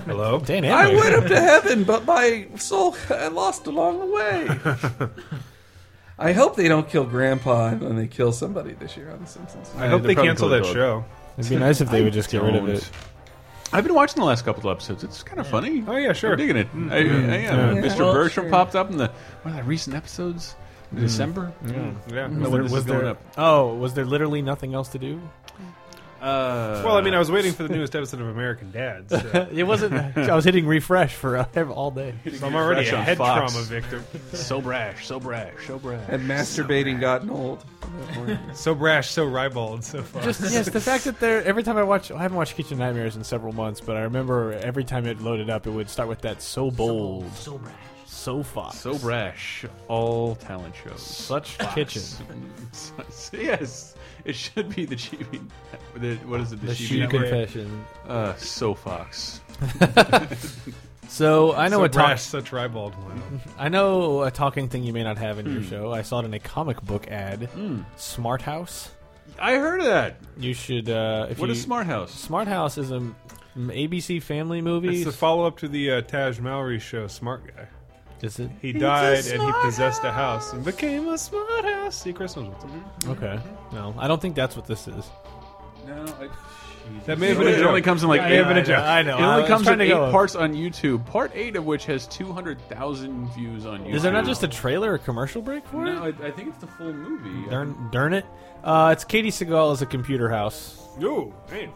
[SPEAKER 4] Hello?
[SPEAKER 6] Dan
[SPEAKER 3] I
[SPEAKER 6] Aykroyd.
[SPEAKER 3] went up to heaven, but my soul I lost along the way. I hope they don't kill Grandpa when they kill somebody this year on The Simpsons.
[SPEAKER 4] I hope they cancel that
[SPEAKER 5] dog.
[SPEAKER 4] show.
[SPEAKER 6] It'd be nice if they
[SPEAKER 5] I
[SPEAKER 6] would just get rid of
[SPEAKER 5] don't.
[SPEAKER 6] it.
[SPEAKER 5] I've been watching the last couple of episodes. It's kind of funny.
[SPEAKER 4] Oh, yeah, sure.
[SPEAKER 5] I'm digging it. I, I am. Mr. Bertram popped up in the one of the recent episodes.
[SPEAKER 6] Mm.
[SPEAKER 5] in December.
[SPEAKER 4] Yeah.
[SPEAKER 6] there-
[SPEAKER 5] No, when this is
[SPEAKER 6] there-
[SPEAKER 5] going up.
[SPEAKER 6] Oh, was there literally nothing else to do?
[SPEAKER 5] Uh,
[SPEAKER 4] Well, I mean, I was waiting for the newest episode of American Dad. So,
[SPEAKER 6] it wasn't. I was hitting refresh for uh, all day.
[SPEAKER 4] so I'm already
[SPEAKER 5] Fresh
[SPEAKER 4] a
[SPEAKER 5] on
[SPEAKER 4] head
[SPEAKER 5] Fox.
[SPEAKER 4] trauma victim.
[SPEAKER 5] so brash, so brash, so brash.
[SPEAKER 3] And masturbating gotten old.
[SPEAKER 4] So brash, so ribald so far.
[SPEAKER 6] Just yes, the fact that there every time I watch, I haven't watched Kitchen Nightmares in several months, but I remember every time it loaded up, it would start with that so bold,
[SPEAKER 7] Oh, So brash.
[SPEAKER 6] so fox,
[SPEAKER 5] So brash, all talent shows.
[SPEAKER 6] such kitchen.
[SPEAKER 5] yes, it should be the Chibi. The, what is it? The,
[SPEAKER 6] The
[SPEAKER 5] Chibi
[SPEAKER 6] Chibi
[SPEAKER 5] Network?
[SPEAKER 6] Confession.
[SPEAKER 5] Uh, so Fox.
[SPEAKER 6] So I know
[SPEAKER 4] so
[SPEAKER 6] a talk,
[SPEAKER 4] brash, such ribald one.
[SPEAKER 6] I know a talking thing you may not have in
[SPEAKER 5] Hmm.
[SPEAKER 6] your show. I saw it in a comic book ad. Smart House.
[SPEAKER 5] I heard of that.
[SPEAKER 6] You should. Uh, if
[SPEAKER 5] What
[SPEAKER 6] you,
[SPEAKER 5] is Smart House?
[SPEAKER 6] Smart House is a m- ABC family movie.
[SPEAKER 4] It's the follow up to the uh, Taj Mowry show, Smart Guy.
[SPEAKER 6] Is it?
[SPEAKER 4] He died and he possessed a house and became a smart house. See Christmas.
[SPEAKER 6] Okay. No, I don't think that's what this is.
[SPEAKER 3] No, I,
[SPEAKER 4] That may have been a
[SPEAKER 5] It
[SPEAKER 4] joke.
[SPEAKER 5] only comes in like
[SPEAKER 4] Yeah,
[SPEAKER 5] eight.
[SPEAKER 4] yeah, I know, I know.
[SPEAKER 5] It
[SPEAKER 4] I
[SPEAKER 5] only
[SPEAKER 4] was
[SPEAKER 5] comes
[SPEAKER 4] trying
[SPEAKER 5] in
[SPEAKER 4] to
[SPEAKER 5] eight
[SPEAKER 4] go.
[SPEAKER 5] parts on YouTube. Part eight of which has two hundred thousand views on YouTube.
[SPEAKER 6] Is there not just a trailer or commercial break for it?
[SPEAKER 5] No, I, I think it's the full movie.
[SPEAKER 6] Darn, darn it. Uh, it's Katie Seagal as a computer house.
[SPEAKER 4] Ooh, hey.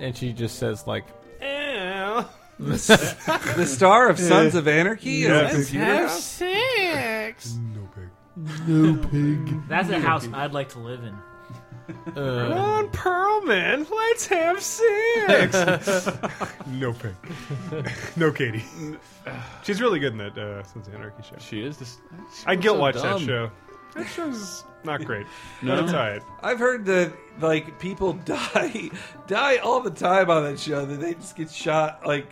[SPEAKER 6] And she just says, like,
[SPEAKER 4] Ew.
[SPEAKER 3] the star of Sons of Anarchy
[SPEAKER 6] Yeah.
[SPEAKER 3] is a computer
[SPEAKER 6] Have
[SPEAKER 3] house?
[SPEAKER 7] Six.
[SPEAKER 4] No pig.
[SPEAKER 6] No pig.
[SPEAKER 7] That's a
[SPEAKER 6] No
[SPEAKER 7] house
[SPEAKER 6] pig.
[SPEAKER 7] I'd like to live in.
[SPEAKER 4] Come on, Pearlman, let's have sex. no pig. no Katie. She's really good in that uh, Sons of Anarchy show.
[SPEAKER 5] She is. This,
[SPEAKER 4] I guilt watch
[SPEAKER 3] so
[SPEAKER 4] that
[SPEAKER 3] dumb.
[SPEAKER 4] show. That show's not great.
[SPEAKER 3] No?
[SPEAKER 4] But it's all right.
[SPEAKER 3] I've heard that like people die die all the time on that show. That they just get shot. Like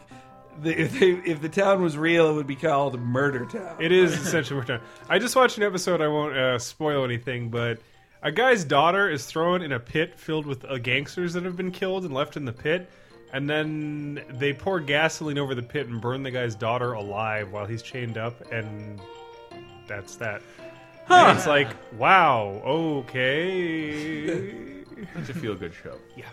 [SPEAKER 3] the, if they, if the town was real, it would be called Murder Town.
[SPEAKER 4] It is essentially more time. I just watched an episode. I won't uh, spoil anything, but a guy's daughter is thrown in a pit filled with uh, gangsters that have been killed and left in the pit, and then they pour gasoline over the pit and burn the guy's daughter alive while he's chained up, and that's that.
[SPEAKER 5] Huh.
[SPEAKER 4] And it's like, wow, okay.
[SPEAKER 5] That's a feel-good show.
[SPEAKER 4] Yeah.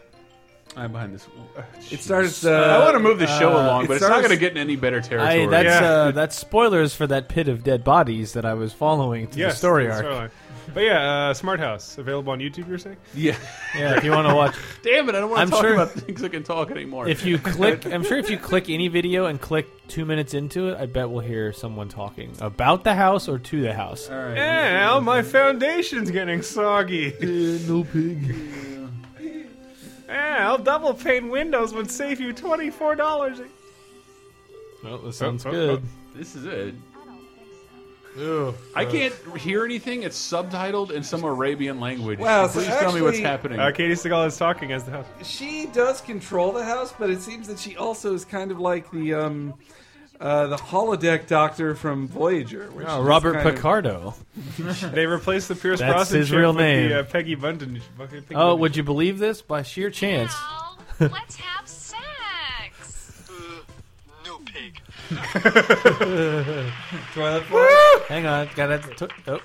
[SPEAKER 5] I'm behind this. Uh,
[SPEAKER 3] It
[SPEAKER 5] jeez.
[SPEAKER 3] starts. Uh,
[SPEAKER 5] I want to move the show
[SPEAKER 6] uh,
[SPEAKER 5] along,
[SPEAKER 6] it
[SPEAKER 5] but it's not
[SPEAKER 6] starts-
[SPEAKER 5] going to get in any better territory.
[SPEAKER 6] I, that's uh, that's spoilers for that pit of dead bodies that I was following to the story arc.
[SPEAKER 4] storyline. But yeah, uh, Smart House available on YouTube. You're saying?
[SPEAKER 5] Yeah,
[SPEAKER 6] Yeah, if you want to watch.
[SPEAKER 5] Damn it! I don't want
[SPEAKER 6] I'm
[SPEAKER 5] to talk
[SPEAKER 6] sure-
[SPEAKER 5] about things I can talk anymore.
[SPEAKER 6] If you click, I'm sure if you click any video and click two minutes into it, I bet we'll hear someone talking about the house or to the house.
[SPEAKER 3] All right.
[SPEAKER 4] Al, my foundation's getting soggy.
[SPEAKER 6] no pig.
[SPEAKER 4] Al, double pane windows would save you twenty four dollars.
[SPEAKER 6] Well, this
[SPEAKER 5] Oh,
[SPEAKER 6] sounds
[SPEAKER 5] oh,
[SPEAKER 6] good.
[SPEAKER 5] oh. This is it. Uh, I can't hear anything. It's subtitled in some Arabian language.
[SPEAKER 3] Wow, so
[SPEAKER 5] Please tell me what's
[SPEAKER 3] actually-
[SPEAKER 5] happening.
[SPEAKER 4] Uh, Katie Seagal is talking as the house.
[SPEAKER 3] she does control the house, but it seems that she also is kind of like the um, uh, the holodeck doctor from Voyager. where she
[SPEAKER 6] Oh,
[SPEAKER 3] just
[SPEAKER 6] Robert
[SPEAKER 3] kind of-
[SPEAKER 6] Picardo.
[SPEAKER 4] they replaced the Pierce
[SPEAKER 6] That's
[SPEAKER 4] Brosnan
[SPEAKER 6] his
[SPEAKER 4] chick
[SPEAKER 6] real
[SPEAKER 4] with
[SPEAKER 6] name.
[SPEAKER 4] The, uh, Peggy Bunton. Peggy
[SPEAKER 6] Oh,
[SPEAKER 4] Bunton.
[SPEAKER 6] would you believe this? By sheer chance.
[SPEAKER 15] Let's have sex. no pig.
[SPEAKER 3] Toilet
[SPEAKER 6] Hang on, gotta. To- oh.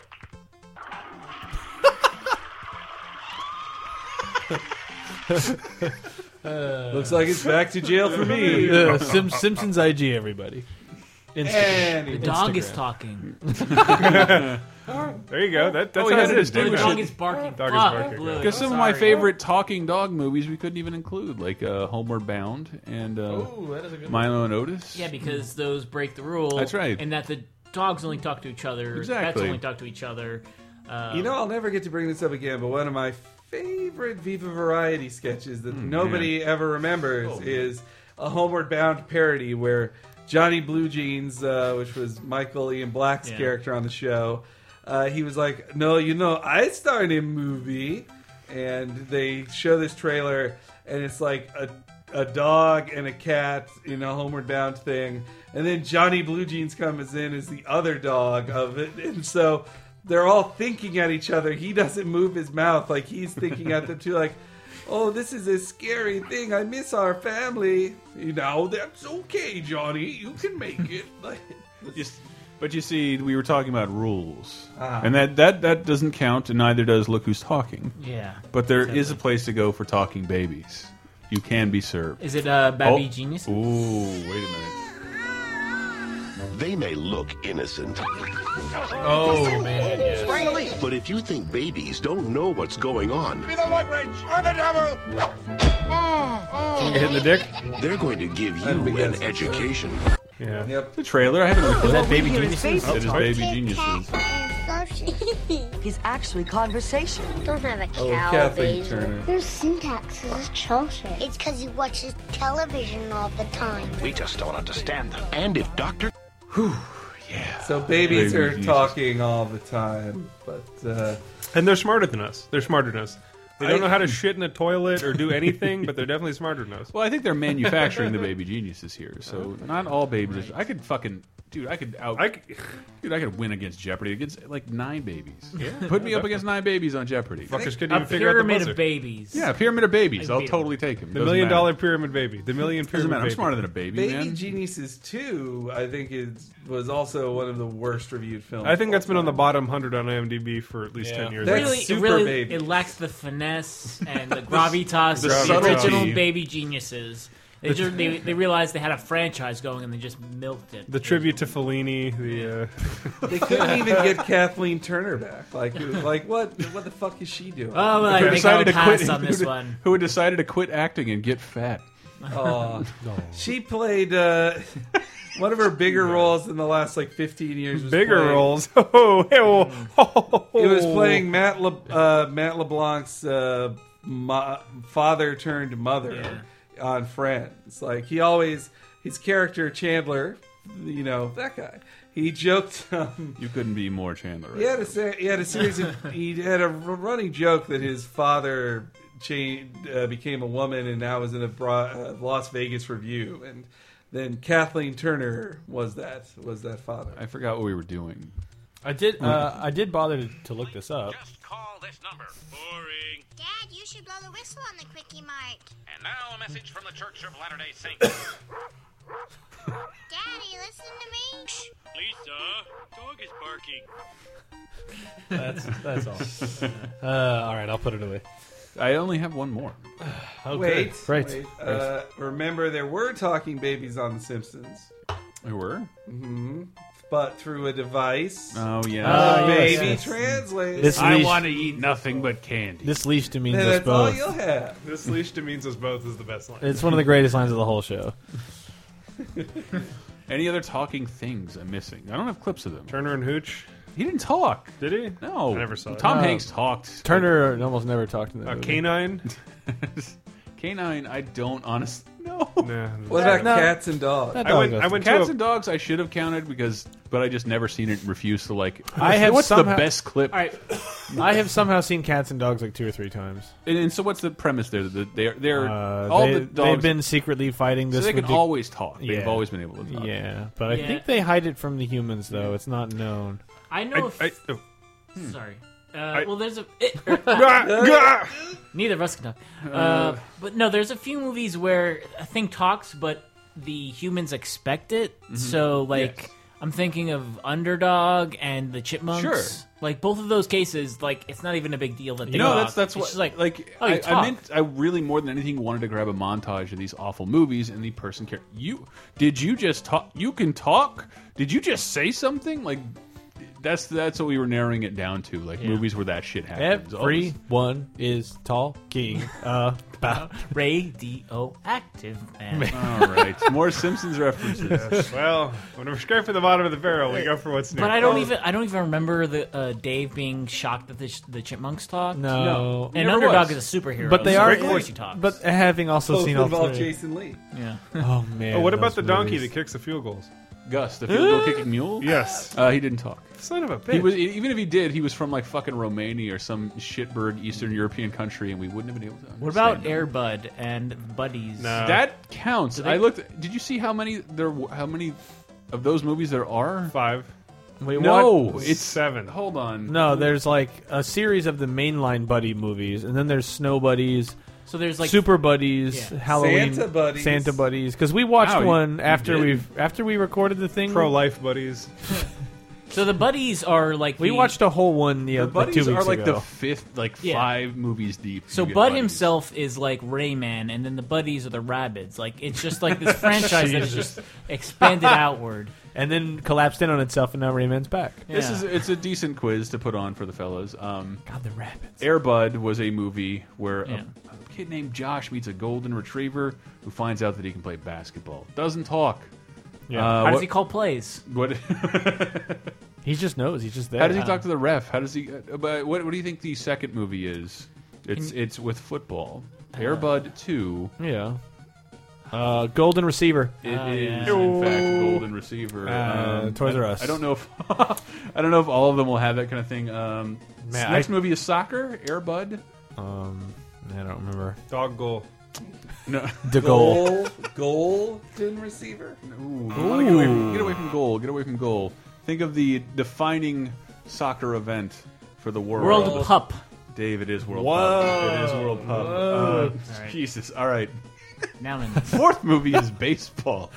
[SPEAKER 3] Looks like it's back to jail for me.
[SPEAKER 6] Uh, Sim- Simpsons IG, everybody.
[SPEAKER 3] Anyway.
[SPEAKER 7] The dog is talking.
[SPEAKER 4] there you go. That, that's
[SPEAKER 5] Oh, we
[SPEAKER 4] how
[SPEAKER 5] had to
[SPEAKER 4] it is.
[SPEAKER 5] distinguish
[SPEAKER 4] Dog
[SPEAKER 5] it.
[SPEAKER 4] is barking. Dog is
[SPEAKER 7] Fuck.
[SPEAKER 4] barking.
[SPEAKER 7] Blue.
[SPEAKER 5] Because some of my
[SPEAKER 7] Sorry.
[SPEAKER 5] favorite talking dog movies we couldn't even include, like uh, Homeward Bound and uh,
[SPEAKER 7] Ooh, that is a good one.
[SPEAKER 5] Milo and Otis.
[SPEAKER 7] Yeah, because those break the rule.
[SPEAKER 5] That's right.
[SPEAKER 7] And that the dogs only talk to each other. Pets
[SPEAKER 3] Exactly.
[SPEAKER 7] only talk to each other. Um,
[SPEAKER 3] You know, I'll never get to bring this up again, but one of my favorite Viva Variety sketches that nobody ever remembers is a Homeward Bound parody where Johnny Blue Jeans, uh, which was Michael Ian Black's
[SPEAKER 10] Yeah.
[SPEAKER 3] character on the show, uh, he was like, No, you know, I star in a movie. And they show this trailer, and it's like a, a dog and a cat in a Homeward Bound thing. And then Johnny Blue Jeans comes in as the other dog of it. And so they're all thinking at each other. He doesn't move his mouth like he's thinking at them too, like, "Oh, this is a scary thing. I miss our family." You know, that's okay, Johnny. You can make it. Like,
[SPEAKER 5] Just- but you see, we were talking about rules,
[SPEAKER 3] Ah.
[SPEAKER 5] and that, that that doesn't count, and neither does Look Who's Talking.
[SPEAKER 7] Yeah.
[SPEAKER 5] But there is a place to go for talking babies. You can be served.
[SPEAKER 7] Is it uh, Baby
[SPEAKER 5] Oh.
[SPEAKER 7] Genius?
[SPEAKER 5] Ooh, wait a minute.
[SPEAKER 10] They may look innocent.
[SPEAKER 6] Oh, man, yes.
[SPEAKER 10] Finally! But if you think babies don't know what's going on,
[SPEAKER 8] the leverage or the devil.
[SPEAKER 5] hitting the dick?
[SPEAKER 10] They're going to give you an education.
[SPEAKER 4] Yeah.
[SPEAKER 3] Yep.
[SPEAKER 5] The trailer. I haven't looked
[SPEAKER 10] Is that
[SPEAKER 5] Baby
[SPEAKER 10] Geniuses? Oh,
[SPEAKER 5] It is Baby Geniuses.
[SPEAKER 16] He's actually conversation.
[SPEAKER 12] Don't have a
[SPEAKER 5] Oh, cow, Kathleen Basil. Turner.
[SPEAKER 12] Your syntax is atrocious. It's because he watches television all the time.
[SPEAKER 10] We just don't understand them. And if Dr.
[SPEAKER 3] so babies
[SPEAKER 4] Baby
[SPEAKER 3] are
[SPEAKER 4] Jesus.
[SPEAKER 3] talking all the time, but uh,
[SPEAKER 4] And they're smarter than us. They're smarter than us. They don't know how to shit in a toilet or do anything, but they're definitely smarter than us.
[SPEAKER 5] Well, I think they're manufacturing the baby geniuses here, so not all babies. Are, I could fucking dude, I could out. I could, dude, I could win against Jeopardy against like nine babies.
[SPEAKER 4] Yeah.
[SPEAKER 5] Put me up against nine babies on Jeopardy.
[SPEAKER 4] Fuckers couldn't A even figure out the pyramid of buzzer. babies.
[SPEAKER 5] Yeah, a pyramid of babies.
[SPEAKER 4] I'd
[SPEAKER 5] I'll
[SPEAKER 4] beat 'em.
[SPEAKER 5] totally take them.
[SPEAKER 4] The million dollar pyramid baby. The million
[SPEAKER 5] Doesn't
[SPEAKER 4] pyramid
[SPEAKER 5] matter. I'm
[SPEAKER 4] baby.
[SPEAKER 5] smarter than a baby,
[SPEAKER 3] Baby
[SPEAKER 5] man.
[SPEAKER 3] Geniuses 2, I think, is, was also one of the worst reviewed films.
[SPEAKER 4] I think that's been on the bottom hundred on IMDb for at least
[SPEAKER 3] Yeah.
[SPEAKER 4] ten years.
[SPEAKER 3] That's
[SPEAKER 4] now.
[SPEAKER 7] really, it really it lacks the finesse and the
[SPEAKER 4] The
[SPEAKER 7] gravitas
[SPEAKER 4] s- the
[SPEAKER 7] of the
[SPEAKER 4] subtlety.
[SPEAKER 7] original baby geniuses. They,
[SPEAKER 4] The-
[SPEAKER 7] just, they, they realized they had a franchise going and they just milked it.
[SPEAKER 4] The tribute to Fellini. The uh...
[SPEAKER 3] They couldn't even get Kathleen Turner back. Like, it was like what? What the fuck is she doing?
[SPEAKER 4] Uh,
[SPEAKER 7] Oh,
[SPEAKER 5] Who
[SPEAKER 7] pass on this one.
[SPEAKER 5] Who had decided to quit acting and get fat?
[SPEAKER 3] Aw. She played uh, one of her bigger roles in the last like 15 years. Was
[SPEAKER 4] Bigger
[SPEAKER 3] playing-
[SPEAKER 4] roles. Oh, hell.
[SPEAKER 3] It was
[SPEAKER 4] Oh.
[SPEAKER 3] playing Matt Le, uh, Matt LeBlanc's uh, mo- father turned mother on Friends. Like he always, his character Chandler, you know that guy. He joked. Um,
[SPEAKER 5] you couldn't be more Chandler. Right?
[SPEAKER 3] He had a se- he had a series of he had a r- running joke that his father changed, uh, became a woman and now was in a broad, uh, Las Vegas review and then Kathleen Turner was that was that father.
[SPEAKER 5] I forgot what we were doing.
[SPEAKER 6] I did. Uh, I did bother to, to look this up.
[SPEAKER 15] Dad, you should blow the whistle on the quickie mark.
[SPEAKER 9] And now a message from the Church of Latter Day Saints.
[SPEAKER 15] Daddy, listen to me. Lisa, dog is barking.
[SPEAKER 6] That's that's all. Uh, all right, I'll put it away.
[SPEAKER 5] I only have one more.
[SPEAKER 3] Wait,
[SPEAKER 6] Right.
[SPEAKER 3] wait. Uh, remember, there were talking babies on The Simpsons.
[SPEAKER 5] There were,
[SPEAKER 3] hmm but through a device.
[SPEAKER 5] Oh, yeah.
[SPEAKER 3] The
[SPEAKER 5] Oh, yes,
[SPEAKER 3] baby
[SPEAKER 5] yes.
[SPEAKER 3] translates.
[SPEAKER 6] Uh, This I leash- wanna
[SPEAKER 5] eat nothing but candy.
[SPEAKER 6] This leash demeans
[SPEAKER 3] Yeah,
[SPEAKER 6] us
[SPEAKER 3] that's all
[SPEAKER 6] both.
[SPEAKER 3] you'll have.
[SPEAKER 4] This leash demeans us both is the best line.
[SPEAKER 6] It's one of the greatest lines of the whole show.
[SPEAKER 5] Any other talking things I'm missing? I don't have clips of them.
[SPEAKER 4] Turner and Hooch.
[SPEAKER 5] He didn't talk.
[SPEAKER 4] Did he?
[SPEAKER 5] No.
[SPEAKER 4] I never saw it.
[SPEAKER 5] Tom
[SPEAKER 4] No.
[SPEAKER 5] Hanks talked.
[SPEAKER 6] Turner almost never talked in the
[SPEAKER 5] A
[SPEAKER 6] movie.
[SPEAKER 4] Uh, canine.
[SPEAKER 5] canine. I don't honestly. No.
[SPEAKER 3] What about cats and dogs?
[SPEAKER 5] I went, I went cats and dogs. I should have counted because, but I just never seen it. and Refused to like.
[SPEAKER 6] I have
[SPEAKER 5] What's
[SPEAKER 6] somehow-
[SPEAKER 5] the best clip?
[SPEAKER 6] All right. I have somehow seen cats and dogs like two or three times.
[SPEAKER 5] And, and so, what's the premise there? That they're they're
[SPEAKER 6] Uh,
[SPEAKER 5] all
[SPEAKER 6] they,
[SPEAKER 5] the dogs.
[SPEAKER 6] have been secretly fighting
[SPEAKER 5] So
[SPEAKER 6] this.
[SPEAKER 5] they can
[SPEAKER 6] ridic-
[SPEAKER 5] always talk. They've
[SPEAKER 6] Yeah.
[SPEAKER 5] always been able to talk.
[SPEAKER 6] Yeah, but I
[SPEAKER 7] Yeah.
[SPEAKER 6] think they hide it from the humans, though. It's not known.
[SPEAKER 7] I know. if, Sorry. Uh, well, there's a. it-
[SPEAKER 15] Gah!
[SPEAKER 7] neither of us can talk. Uh,
[SPEAKER 15] Uh.
[SPEAKER 7] but no, there's a few movies where a thing talks, but the humans expect it.
[SPEAKER 15] Mhm.
[SPEAKER 7] So, like, I'm thinking of Underdog and the Chipmunks.
[SPEAKER 5] Sure.
[SPEAKER 7] Like both of those cases, like it's not even a big deal that they
[SPEAKER 5] no,
[SPEAKER 7] talk.
[SPEAKER 5] that's that's
[SPEAKER 7] It's
[SPEAKER 5] what
[SPEAKER 7] just like
[SPEAKER 5] like
[SPEAKER 7] oh, you
[SPEAKER 5] I,
[SPEAKER 7] talk.
[SPEAKER 5] I meant I really more than anything wanted to grab a montage of these awful movies and the person care you did you just talk you can talk did you just say something like that's that's what we were narrowing it down to like movies where that shit happens Always-
[SPEAKER 6] Everyone is talking about
[SPEAKER 7] radio active man.
[SPEAKER 5] all right more Simpsons references
[SPEAKER 4] well, when we're scraping the bottom of the barrel, we go for what's new.
[SPEAKER 7] But I don't even I don't even remember the uh, Dave being shocked that the, sh- the chipmunks talk.
[SPEAKER 6] No. No.
[SPEAKER 7] and
[SPEAKER 6] Never
[SPEAKER 7] underdog
[SPEAKER 6] was.
[SPEAKER 7] is a superhero.
[SPEAKER 6] But they
[SPEAKER 7] so
[SPEAKER 6] are-
[SPEAKER 7] Of course he talks.
[SPEAKER 6] but having also Both seen all involve three.
[SPEAKER 3] Jason Lee.
[SPEAKER 7] Yeah.
[SPEAKER 6] Oh, man,
[SPEAKER 4] Oh, what about
[SPEAKER 6] those
[SPEAKER 4] the donkey
[SPEAKER 6] movies.
[SPEAKER 4] that kicks the field goals?
[SPEAKER 5] Gus the field goal kicking mule
[SPEAKER 4] Yes.
[SPEAKER 5] uh, he didn't talk
[SPEAKER 4] Son of a bitch.
[SPEAKER 5] He was e, even if he did, he was from like fucking Romania or some shitbird Eastern European country, and we wouldn't have been able to.
[SPEAKER 7] What about
[SPEAKER 5] understand him.
[SPEAKER 7] Airbud and Buddies?
[SPEAKER 4] Uh,
[SPEAKER 5] That counts.
[SPEAKER 7] Do they-
[SPEAKER 5] I looked. Did you see how many there? w- How many of those movies there are?
[SPEAKER 4] Five.
[SPEAKER 6] Wait,
[SPEAKER 5] no,
[SPEAKER 6] what?
[SPEAKER 5] it's
[SPEAKER 4] seven.
[SPEAKER 5] Hold on.
[SPEAKER 7] Mm-hmm.
[SPEAKER 6] No, there's like a series of the mainline buddy movies, and then there's Snow Buddies.
[SPEAKER 7] So there's, like-
[SPEAKER 6] Super Buddies,
[SPEAKER 7] Yeah.
[SPEAKER 6] Halloween
[SPEAKER 7] Santa Buddies.
[SPEAKER 6] Santa Buddies. Because we watched
[SPEAKER 7] Wow, you-
[SPEAKER 6] one
[SPEAKER 7] you
[SPEAKER 6] after
[SPEAKER 7] did.
[SPEAKER 6] we've after we recorded the thing.
[SPEAKER 4] Pro life buddies.
[SPEAKER 7] so the buddies are like
[SPEAKER 6] We
[SPEAKER 7] the-
[SPEAKER 6] watched a whole one the,
[SPEAKER 7] The
[SPEAKER 6] uh,
[SPEAKER 7] buddies
[SPEAKER 6] two
[SPEAKER 7] are
[SPEAKER 6] weeks
[SPEAKER 7] like
[SPEAKER 6] ago.
[SPEAKER 5] the fifth, like
[SPEAKER 7] Yeah.
[SPEAKER 5] five movies deep.
[SPEAKER 7] So
[SPEAKER 5] you get
[SPEAKER 7] Bud
[SPEAKER 5] Buddies.
[SPEAKER 7] himself is like Rayman, and then the buddies are the Rabbits. Like it's just like this franchise that is
[SPEAKER 6] Jesus.
[SPEAKER 7] just expanded outward.
[SPEAKER 6] and then collapsed in on itself, and now Rayman's back.
[SPEAKER 5] This is it's a decent quiz to put on for the fellas. Um,
[SPEAKER 6] God, the rabbits.
[SPEAKER 5] Airbud was a movie where
[SPEAKER 6] Yeah.
[SPEAKER 5] a, a kid named Josh meets a golden retriever who finds out that he can play basketball. Doesn't talk.
[SPEAKER 6] Yeah.
[SPEAKER 5] Uh,
[SPEAKER 7] How does
[SPEAKER 5] what-
[SPEAKER 7] he call plays?
[SPEAKER 5] What?
[SPEAKER 6] he just knows. He's just there.
[SPEAKER 5] How does he talk to the ref? How does he? Uh, but what, what do you think the second movie is? It's it's with football.
[SPEAKER 7] Uh.
[SPEAKER 5] Airbud Two.
[SPEAKER 7] Ah,
[SPEAKER 6] Yeah. Uh, golden receiver.
[SPEAKER 5] It is in fact golden receiver.
[SPEAKER 6] Uh, Toys
[SPEAKER 5] I-
[SPEAKER 6] R Us.
[SPEAKER 5] I don't know if I don't know if all of them will have that kind of thing. Um,
[SPEAKER 6] Man,
[SPEAKER 5] next
[SPEAKER 6] I-
[SPEAKER 5] movie is soccer. Airbud.
[SPEAKER 6] Um, I don't remember.
[SPEAKER 4] Dog goal.
[SPEAKER 5] No.
[SPEAKER 6] De Gaulle.
[SPEAKER 3] Goal, golden receiver.
[SPEAKER 5] Ooh. I wanna Get, away from, get away from goal. Get away from goal. Think of the defining soccer event for the world.
[SPEAKER 7] World Pup.
[SPEAKER 5] Dave, it is World
[SPEAKER 4] Whoa.
[SPEAKER 5] Pup. It is World Pup.
[SPEAKER 4] Whoa.
[SPEAKER 5] Uh,
[SPEAKER 4] All right.
[SPEAKER 5] Jesus. All right.
[SPEAKER 7] Now in.
[SPEAKER 5] Fourth movie is baseball.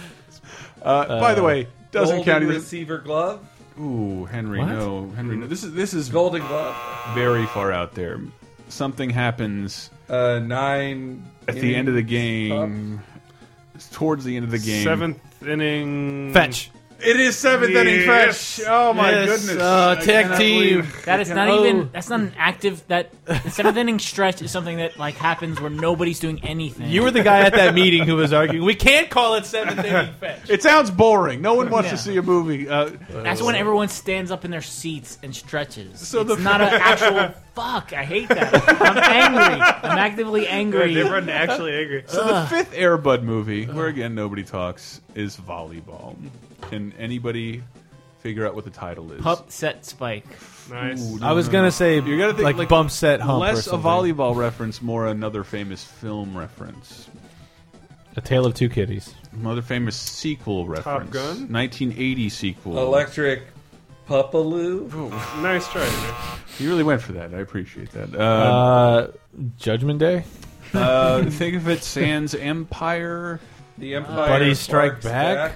[SPEAKER 5] Uh, by the way, doesn't
[SPEAKER 3] golden
[SPEAKER 5] count either.
[SPEAKER 3] receiver glove.
[SPEAKER 5] Ooh, Henry,
[SPEAKER 3] What?
[SPEAKER 5] no, Henry, no. This is this is
[SPEAKER 3] Golden glove.
[SPEAKER 5] very far out there. Something happens
[SPEAKER 3] Uh, nine
[SPEAKER 5] at the end of the game. Towards the end of the game.
[SPEAKER 4] Seventh inning.
[SPEAKER 6] Fetch.
[SPEAKER 5] It is seventh inning
[SPEAKER 4] Yes.
[SPEAKER 5] fetch. Oh my
[SPEAKER 6] Yes,
[SPEAKER 5] goodness!
[SPEAKER 6] uh,
[SPEAKER 5] I
[SPEAKER 6] tag
[SPEAKER 5] cannot
[SPEAKER 6] team.
[SPEAKER 5] believe-
[SPEAKER 7] That is
[SPEAKER 5] I
[SPEAKER 7] not
[SPEAKER 6] Oh.
[SPEAKER 5] cannot-
[SPEAKER 7] even. That's not an active. That the seventh inning stretch is something that like happens where nobody's doing anything.
[SPEAKER 6] You were the guy at that meeting who was uh, arguing. We can't call it seventh inning fetch.
[SPEAKER 5] It sounds boring. No one wants
[SPEAKER 7] Yeah.
[SPEAKER 5] to see a movie. Uh,
[SPEAKER 7] That's when everyone stands up in their seats and stretches.
[SPEAKER 5] So
[SPEAKER 7] So
[SPEAKER 5] the-
[SPEAKER 7] it's not an actual fuck. I hate that. I'm angry. I'm actively angry.
[SPEAKER 4] Yeah, Everyone actually angry.
[SPEAKER 5] So the fifth Airbud movie, where again nobody talks, is volleyball. Can anybody figure out what the title is?
[SPEAKER 7] Pup set spike.
[SPEAKER 4] nice.
[SPEAKER 5] Ooh, no,
[SPEAKER 6] I was
[SPEAKER 5] no,
[SPEAKER 6] gonna
[SPEAKER 5] no.
[SPEAKER 6] say
[SPEAKER 5] You gotta think,
[SPEAKER 6] like,
[SPEAKER 5] like,
[SPEAKER 6] bump set hump. or
[SPEAKER 5] less a
[SPEAKER 6] something.
[SPEAKER 5] volleyball reference, more another famous film reference,
[SPEAKER 6] A tale of two kitties.
[SPEAKER 5] another famous sequel reference.
[SPEAKER 4] Gun?
[SPEAKER 5] 1980 sequel.
[SPEAKER 3] Electric Puppaloo.
[SPEAKER 4] Nice try. Dude.
[SPEAKER 5] you really went for that. I appreciate that.
[SPEAKER 6] Uh,
[SPEAKER 5] Uh,
[SPEAKER 6] Judgment Day.
[SPEAKER 5] uh, think of it, Sans Empire.
[SPEAKER 3] The Empire.
[SPEAKER 6] Buddy Strike
[SPEAKER 3] Barks
[SPEAKER 6] Back?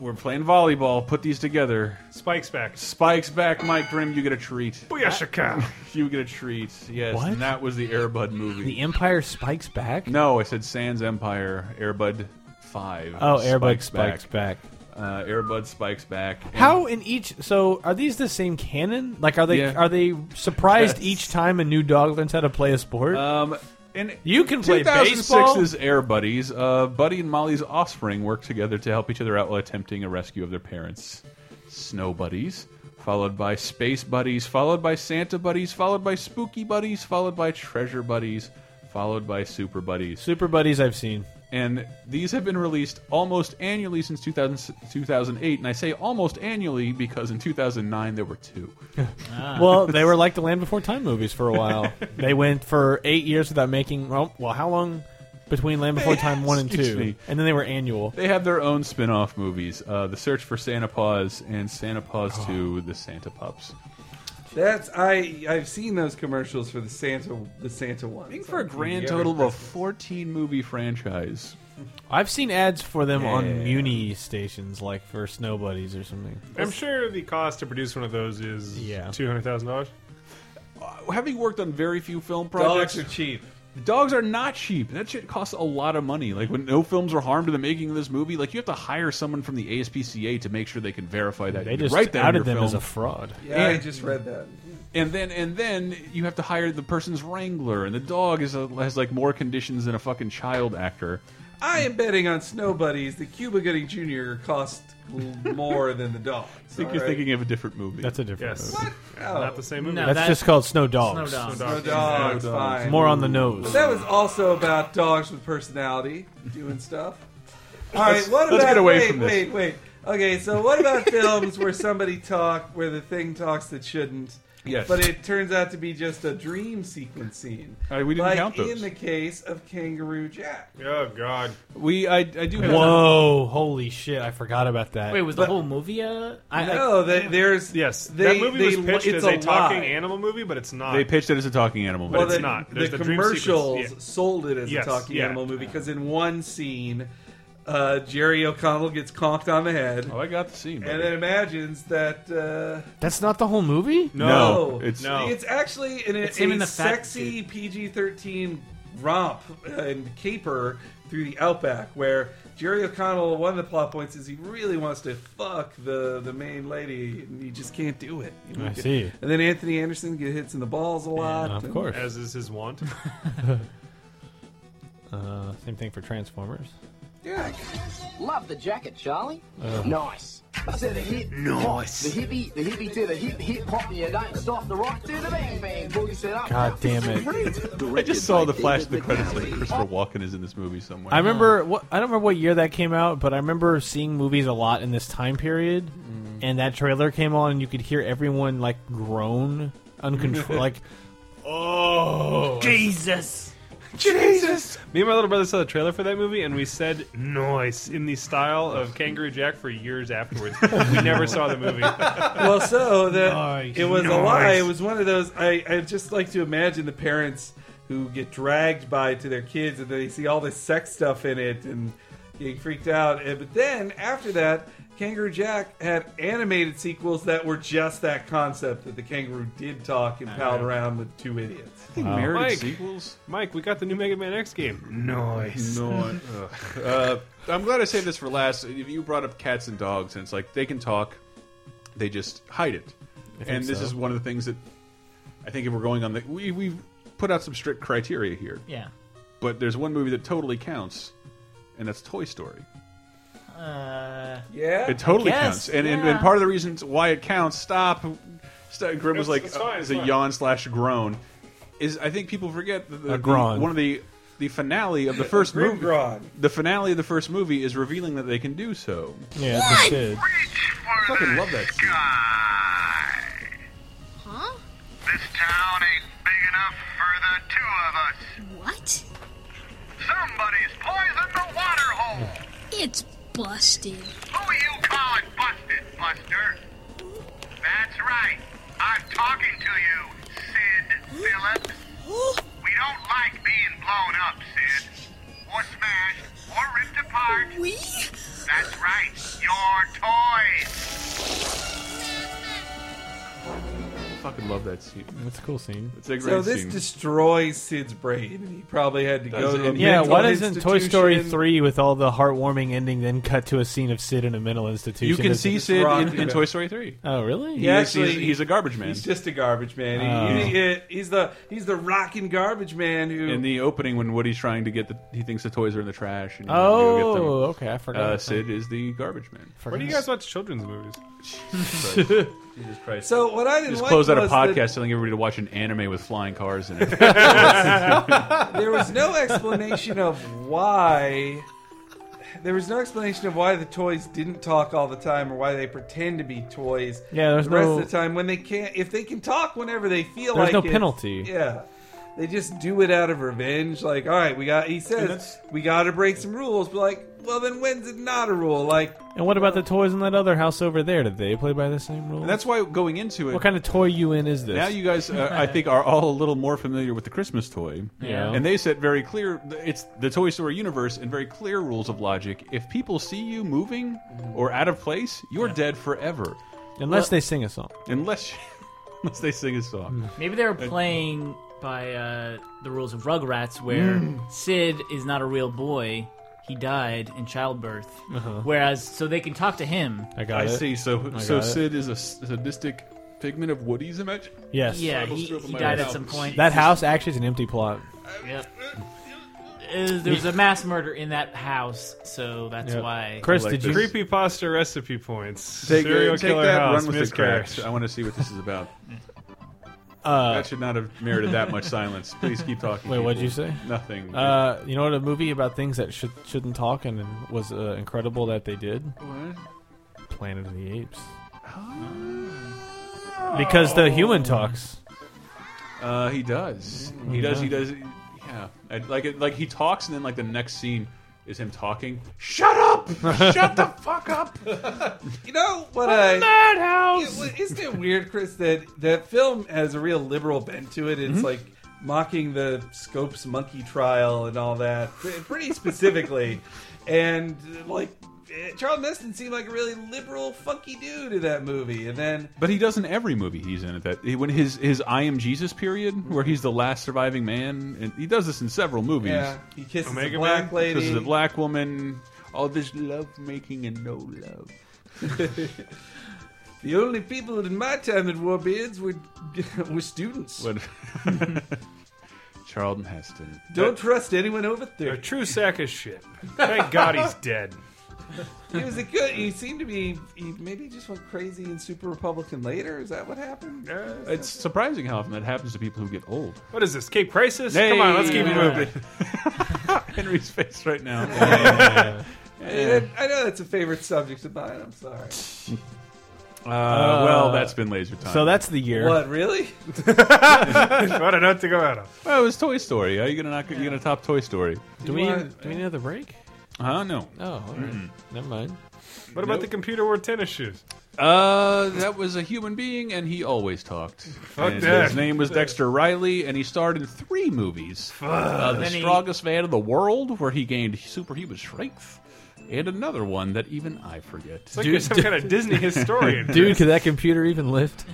[SPEAKER 5] We're playing volleyball. Put these together.
[SPEAKER 4] Spike's back. Oh,
[SPEAKER 5] Spikes back, Mike Grimm. You get a treat.
[SPEAKER 4] Booyashaka.
[SPEAKER 5] You get a treat. Yes,
[SPEAKER 6] What?
[SPEAKER 5] and that was the Airbud movie.
[SPEAKER 6] The Empire Spikes Back.
[SPEAKER 5] no, I said Sans Empire, Airbud Five.
[SPEAKER 6] Oh, Airbud Spikes Back.
[SPEAKER 5] Uh, Airbud Spikes back. And
[SPEAKER 6] How in each? So are these the same canon? Like are they
[SPEAKER 5] Yeah.
[SPEAKER 6] are they surprised
[SPEAKER 5] Yes.
[SPEAKER 6] each time a new dog learns how to play a sport?
[SPEAKER 5] Um, in
[SPEAKER 6] you can play
[SPEAKER 5] 2006
[SPEAKER 6] baseball.
[SPEAKER 5] is Air Buddies. Uh, Buddy and Molly's offspring work together to help each other out while attempting a rescue of their parents. Snow Buddies, followed by Space Buddies, followed by Santa Buddies, followed by Spooky Buddies, followed by Treasure Buddies, followed by Super Buddies.
[SPEAKER 6] Super Buddies. I've seen.
[SPEAKER 5] and these have been released almost annually since 2000, 2008 and i say almost annually because in 2009 there were two
[SPEAKER 6] Well, they were like the Land Before Time movies for a while. they went for eight years without making. Well, well how long between Land Before Time one and
[SPEAKER 5] Excuse
[SPEAKER 6] two?
[SPEAKER 5] me.
[SPEAKER 6] And then they were annual.
[SPEAKER 5] they have their own spin-off movies uh, the search for santa paws and santa paws
[SPEAKER 6] Oh.
[SPEAKER 5] 2 the santa pups
[SPEAKER 3] That's I. I've seen those commercials for the Santa, the Santa one.
[SPEAKER 5] i think for a grand total of a 14 movie franchise
[SPEAKER 6] I've seen ads for them on Muni stations, like for Snow Buddies or something.
[SPEAKER 4] I'm sure the cost to produce one of those is
[SPEAKER 6] Yeah.
[SPEAKER 4] two hundred thousand dollars.
[SPEAKER 5] Uh, having worked on very few film projects
[SPEAKER 3] dogs are cheap.
[SPEAKER 5] Dogs are not cheap. That shit costs a lot of money. Like when no films were harmed in the making of this movie, like you have to hire someone from the ASPCA to make sure they can verify that.
[SPEAKER 6] They
[SPEAKER 5] you
[SPEAKER 6] just
[SPEAKER 5] write that in
[SPEAKER 6] outed
[SPEAKER 5] your
[SPEAKER 6] them
[SPEAKER 5] film.
[SPEAKER 6] as a fraud.
[SPEAKER 3] Yeah, I
[SPEAKER 5] And-
[SPEAKER 3] just read that.
[SPEAKER 5] and then and then you have to hire the person's wrangler, and the dog is a, has like more conditions than a fucking child actor.
[SPEAKER 3] I am betting on Snow Buddies that Cuba Gooding Jr. cost l- more than the dogs.
[SPEAKER 5] I think you're thinking of a different movie.
[SPEAKER 6] That's a different.
[SPEAKER 4] Yes.
[SPEAKER 6] movie.
[SPEAKER 4] Not the same movie.
[SPEAKER 7] No,
[SPEAKER 6] That's
[SPEAKER 7] that-
[SPEAKER 6] just called Snow
[SPEAKER 7] Snow
[SPEAKER 6] Dogs.
[SPEAKER 7] dogs.
[SPEAKER 3] No dogs,
[SPEAKER 5] No dogs.
[SPEAKER 3] fine.
[SPEAKER 6] More on the nose.
[SPEAKER 3] But that was also about dogs with personality doing stuff. All right,
[SPEAKER 5] Let's-
[SPEAKER 3] what about
[SPEAKER 5] let's get away
[SPEAKER 3] wait,
[SPEAKER 5] from this.
[SPEAKER 3] wait, wait. Okay, so what about films where somebody talk where the thing talks that shouldn't?
[SPEAKER 5] Yes.
[SPEAKER 3] But it turns out to be just a dream sequence scene.
[SPEAKER 5] Uh, we didn't
[SPEAKER 3] like
[SPEAKER 5] count those.
[SPEAKER 3] in the case of Kangaroo Jack.
[SPEAKER 4] Oh God.
[SPEAKER 5] We I, I do have
[SPEAKER 6] Whoa! Holy shit! I forgot about that.
[SPEAKER 7] Wait, was the whole movie? Uh, I, I,
[SPEAKER 3] no, they, there's
[SPEAKER 4] Yes.
[SPEAKER 3] They-
[SPEAKER 4] that movie
[SPEAKER 3] they-
[SPEAKER 4] was pitched
[SPEAKER 3] it's
[SPEAKER 4] as
[SPEAKER 3] a
[SPEAKER 4] a, talking
[SPEAKER 3] lie.
[SPEAKER 4] animal movie, but it's not.
[SPEAKER 5] they pitched it as a talking animal.
[SPEAKER 4] Well,
[SPEAKER 5] movie.
[SPEAKER 4] it's
[SPEAKER 3] the,
[SPEAKER 4] not.
[SPEAKER 3] The,
[SPEAKER 4] There's the dream sequence.
[SPEAKER 3] commercials
[SPEAKER 4] Yeah.
[SPEAKER 3] sold it as
[SPEAKER 4] Yes,
[SPEAKER 3] a talking
[SPEAKER 4] yeah.
[SPEAKER 3] animal movie because in one scene, uh, Jerry O'Connell gets conked on the head
[SPEAKER 5] oh, I got the scene.
[SPEAKER 3] and
[SPEAKER 5] buddy.
[SPEAKER 3] then imagines that. Uh,
[SPEAKER 6] That's not the whole movie.
[SPEAKER 4] no.
[SPEAKER 5] No, it's-
[SPEAKER 4] No.
[SPEAKER 3] it's actually an,
[SPEAKER 7] It's
[SPEAKER 3] a
[SPEAKER 7] him and the fat
[SPEAKER 3] sexy PG thirteen romp and caper through the outback where Jerry O'Connell. One of the plot points is he really wants to fuck the the main lady and he just can't do it. You
[SPEAKER 6] I see.
[SPEAKER 3] And then Anthony Anderson gets hits in the balls a lot.
[SPEAKER 6] Of
[SPEAKER 3] and-
[SPEAKER 6] course.
[SPEAKER 4] As is his wont.
[SPEAKER 6] Uh, same thing for Transformers.
[SPEAKER 3] Yeah.
[SPEAKER 2] Love the jacket, Charlie. Nice. To the hip, nice. The hippie, the hippie to the hip, hip hop, you don't stop the rock to the bang bang. Boogie set up.
[SPEAKER 6] God damn it!
[SPEAKER 5] I just saw the flash of the credits. Like Christopher Walken is in this movie somewhere.
[SPEAKER 6] I remember what I don't remember what year that came out, but I remember seeing movies a lot in this time period,
[SPEAKER 5] Mm.
[SPEAKER 6] and that trailer came on, and you could hear everyone like groan uncontrolled, like
[SPEAKER 4] Oh.
[SPEAKER 7] Jesus.
[SPEAKER 4] Jesus. Me and my little brother saw the trailer for that movie, and we said "noise" in the style of Kangaroo Jack for years afterwards. we never saw the movie.
[SPEAKER 3] well, so that
[SPEAKER 4] Nice.
[SPEAKER 3] it was a
[SPEAKER 4] Nice.
[SPEAKER 3] lie. It was one of those. I, I just like to imagine the parents who get dragged by to their kids, and they see all this sex stuff in it, and getting freaked out. And, but then after that, Kangaroo Jack had animated sequels that were just that concept that the kangaroo did talk
[SPEAKER 6] Uh-huh.
[SPEAKER 3] and pal around with two idiots.
[SPEAKER 5] Uh,
[SPEAKER 4] Mike, Mike, we got the new Mega Man X game. Nice.
[SPEAKER 5] Nice. Ugh. uh, I'm glad I saved this for last. You brought up cats and dogs, and it's like they can talk, they just hide it.
[SPEAKER 4] I think
[SPEAKER 5] And this
[SPEAKER 4] so.
[SPEAKER 5] is one of the things that I think if we're going on the we we put out some strict criteria here.
[SPEAKER 7] Yeah.
[SPEAKER 5] But there's one movie that totally counts, and that's Toy Story.
[SPEAKER 7] Uh,
[SPEAKER 3] yeah.
[SPEAKER 5] It totally
[SPEAKER 7] I guess,
[SPEAKER 5] counts, and, and
[SPEAKER 7] yeah.
[SPEAKER 5] and part of the reasons why it counts. Stop. St- Grim was
[SPEAKER 4] It's-
[SPEAKER 5] like
[SPEAKER 4] it's fine,
[SPEAKER 5] is
[SPEAKER 4] it's
[SPEAKER 5] a
[SPEAKER 4] fine.
[SPEAKER 5] yawn slash groan. Is I think people forget that the,
[SPEAKER 6] A
[SPEAKER 5] the-
[SPEAKER 6] groan.
[SPEAKER 5] one of the the finale of the first
[SPEAKER 3] Grim
[SPEAKER 5] movie.
[SPEAKER 3] groan.
[SPEAKER 5] The finale of the first movie is revealing that they can do so.
[SPEAKER 6] Yeah, that's a kid.
[SPEAKER 5] Fucking love that. Scene.
[SPEAKER 17] Huh?
[SPEAKER 9] This town ain't big enough for the two of us.
[SPEAKER 17] What?
[SPEAKER 9] Somebody's poisoned the water hole.
[SPEAKER 17] It's busted.
[SPEAKER 9] Who are you calling busted, Buster? That's right. I'm talking to you, Sid Phillips. We don't like being blown up, Sid. Or smashed, or ripped apart.
[SPEAKER 17] We?
[SPEAKER 9] That's right. Your toys.
[SPEAKER 5] Fucking love that scene.
[SPEAKER 6] That's a cool scene.
[SPEAKER 5] It's a great
[SPEAKER 3] So this
[SPEAKER 5] scene.
[SPEAKER 3] destroys Sid's brain, and he probably had to
[SPEAKER 5] Does
[SPEAKER 3] go to a
[SPEAKER 5] it?
[SPEAKER 6] Yeah,
[SPEAKER 3] mental
[SPEAKER 6] why doesn't Toy Story
[SPEAKER 3] institution.
[SPEAKER 6] 3 with all the heartwarming ending then cut to a scene of Sid in a mental institution?
[SPEAKER 5] You can
[SPEAKER 6] Does it-
[SPEAKER 5] see Sid in, in Toy Story three.
[SPEAKER 6] Oh, really?
[SPEAKER 5] He is- he's, he's a garbage man.
[SPEAKER 3] He's just a garbage man.
[SPEAKER 5] Oh.
[SPEAKER 3] He, he- he's the he's the rocking garbage man who
[SPEAKER 5] in the opening when Woody's trying to get the he thinks the toys are in the trash. And he
[SPEAKER 6] Oh,
[SPEAKER 5] wants to go get them.
[SPEAKER 6] okay, I forgot
[SPEAKER 5] Uh,
[SPEAKER 6] that
[SPEAKER 5] Sid is the garbage man.
[SPEAKER 4] Why do you guys watch children's movies?
[SPEAKER 5] Jesus Christ.
[SPEAKER 3] So what I didn't
[SPEAKER 5] Just
[SPEAKER 3] like
[SPEAKER 5] close out a
[SPEAKER 3] was
[SPEAKER 5] podcast
[SPEAKER 3] that-
[SPEAKER 5] telling everybody to watch an anime with flying cars in it.
[SPEAKER 3] there was no explanation of why. There was no explanation of why the toys didn't talk all the time, or why they pretend to be toys.
[SPEAKER 6] Yeah, there's
[SPEAKER 3] the rest
[SPEAKER 6] no-
[SPEAKER 3] of the time when they can't. If they can talk whenever they feel
[SPEAKER 6] There's
[SPEAKER 3] like
[SPEAKER 6] no
[SPEAKER 3] it,
[SPEAKER 6] penalty.
[SPEAKER 3] Yeah, they just do it out of revenge. Like, all right, we got. He says we got to break some rules, but like, well, then when's it not a rule? Like,
[SPEAKER 6] And what about
[SPEAKER 5] uh,
[SPEAKER 6] the toys in that other house over there? Did they play by the same rules?
[SPEAKER 5] That's why going into it,
[SPEAKER 6] What kind of toy you in is this?
[SPEAKER 5] now you guys, uh, I think, are all a little more familiar with the Christmas toy.
[SPEAKER 6] Yeah.
[SPEAKER 5] And they set very clear, it's the Toy Story universe and very clear rules of logic. If people see you moving
[SPEAKER 6] Mm-hmm.
[SPEAKER 5] or out of place, you're dead forever.
[SPEAKER 6] Unless they sing a song.
[SPEAKER 5] Unless, unless they sing a song.
[SPEAKER 6] Mm,
[SPEAKER 7] Maybe they were
[SPEAKER 5] Uh,
[SPEAKER 7] playing by uh, the rules of Rugrats, where
[SPEAKER 6] Hmm.
[SPEAKER 5] Mm.
[SPEAKER 7] Sid is not a real boy. He died in childbirth.
[SPEAKER 6] Uh-huh.
[SPEAKER 7] Whereas, so they can talk to him.
[SPEAKER 5] I see. So, so Sid is a s- sadistic figment of Woody's image.
[SPEAKER 6] Yes.
[SPEAKER 7] Yeah,
[SPEAKER 5] Bible
[SPEAKER 7] he-
[SPEAKER 5] strip of
[SPEAKER 7] he
[SPEAKER 5] my
[SPEAKER 7] died
[SPEAKER 5] life.
[SPEAKER 7] at some point.
[SPEAKER 6] That house actually is an empty plot.
[SPEAKER 7] Yep. Uh, there was a mass murder in that house, so that's why.
[SPEAKER 4] creepy pasta recipe points?
[SPEAKER 5] Take,
[SPEAKER 4] Serial
[SPEAKER 5] uh, take
[SPEAKER 4] killer
[SPEAKER 5] that,
[SPEAKER 4] house
[SPEAKER 5] run with the
[SPEAKER 4] miscarriage.
[SPEAKER 5] cracks. I want to see what this is about.
[SPEAKER 6] Uh,
[SPEAKER 5] that should not have merited that much silence. Please keep talking.
[SPEAKER 6] Wait, what'd you say?
[SPEAKER 5] people. Nothing.
[SPEAKER 6] Uh, you know what? A movie about things that should, shouldn't talk and was uh, incredible that they did.
[SPEAKER 5] What?
[SPEAKER 6] Planet of the Apes. Because the human talks.
[SPEAKER 5] Uh, he does. He
[SPEAKER 6] Mhm.
[SPEAKER 5] does. He does. Yeah. I, like it, like he talks, and then like the next scene is him talking. Shut up! Shut the fuck up!
[SPEAKER 3] You know what I
[SPEAKER 5] What a madhouse!
[SPEAKER 3] Yeah, well, isn't it weird, Chris, that that film has a real liberal bent to it? It's
[SPEAKER 5] Mm-hmm.
[SPEAKER 3] like mocking the Scopes monkey trial and all that, pre- pretty specifically. and uh, like eh, Charles Neston seemed like a really liberal, funky dude in that movie, and then
[SPEAKER 5] But he does in every movie he's in. At that he- when his his I am Jesus period, where he's the last surviving man, and he does this in several movies.
[SPEAKER 3] yeah, he kisses
[SPEAKER 4] Omega
[SPEAKER 3] a black
[SPEAKER 4] Man?
[SPEAKER 3] lady.
[SPEAKER 5] This is a black woman. All this love making and no love.
[SPEAKER 3] the only people in my time that wore beards were were students.
[SPEAKER 5] What? Charlton Heston.
[SPEAKER 3] Don't trust anyone over thirty.
[SPEAKER 4] A true sack of shit. Thank God he's dead.
[SPEAKER 3] He was a good. He seemed to be. He maybe just went crazy and super Republican later. Is that what
[SPEAKER 4] Eh.
[SPEAKER 3] happened?
[SPEAKER 5] It's surprising how often that happens to people who get old.
[SPEAKER 4] What is this? Cape Crisis? Come on, let's keep it moving.
[SPEAKER 5] Henry's face right now.
[SPEAKER 3] I, mean, I- I know that's a favorite subject of mine. I'm sorry.
[SPEAKER 5] Uh, well, that's been laser time.
[SPEAKER 6] So that's the year.
[SPEAKER 3] What really?
[SPEAKER 4] what a note to go out of.
[SPEAKER 5] Well, it was Toy Story. Are you gonna knock? You gonna top Toy Story?
[SPEAKER 6] Do we need, do we need another break?
[SPEAKER 5] Uh, no.
[SPEAKER 6] Oh, all right. never mind.
[SPEAKER 4] What about the computer wore tennis shoes?
[SPEAKER 5] Uh, that was a human being, and he always talked.
[SPEAKER 4] Fuck
[SPEAKER 5] And
[SPEAKER 4] that.
[SPEAKER 5] His name was Dexter Riley, and he starred in three movies: uh,
[SPEAKER 4] And
[SPEAKER 5] The
[SPEAKER 4] then he-
[SPEAKER 5] Strongest Man in the World, where he gained superhuman strength, and another one that even I forget.
[SPEAKER 4] It's like you're some kind of Disney historian.
[SPEAKER 6] Dude, could that computer even lift?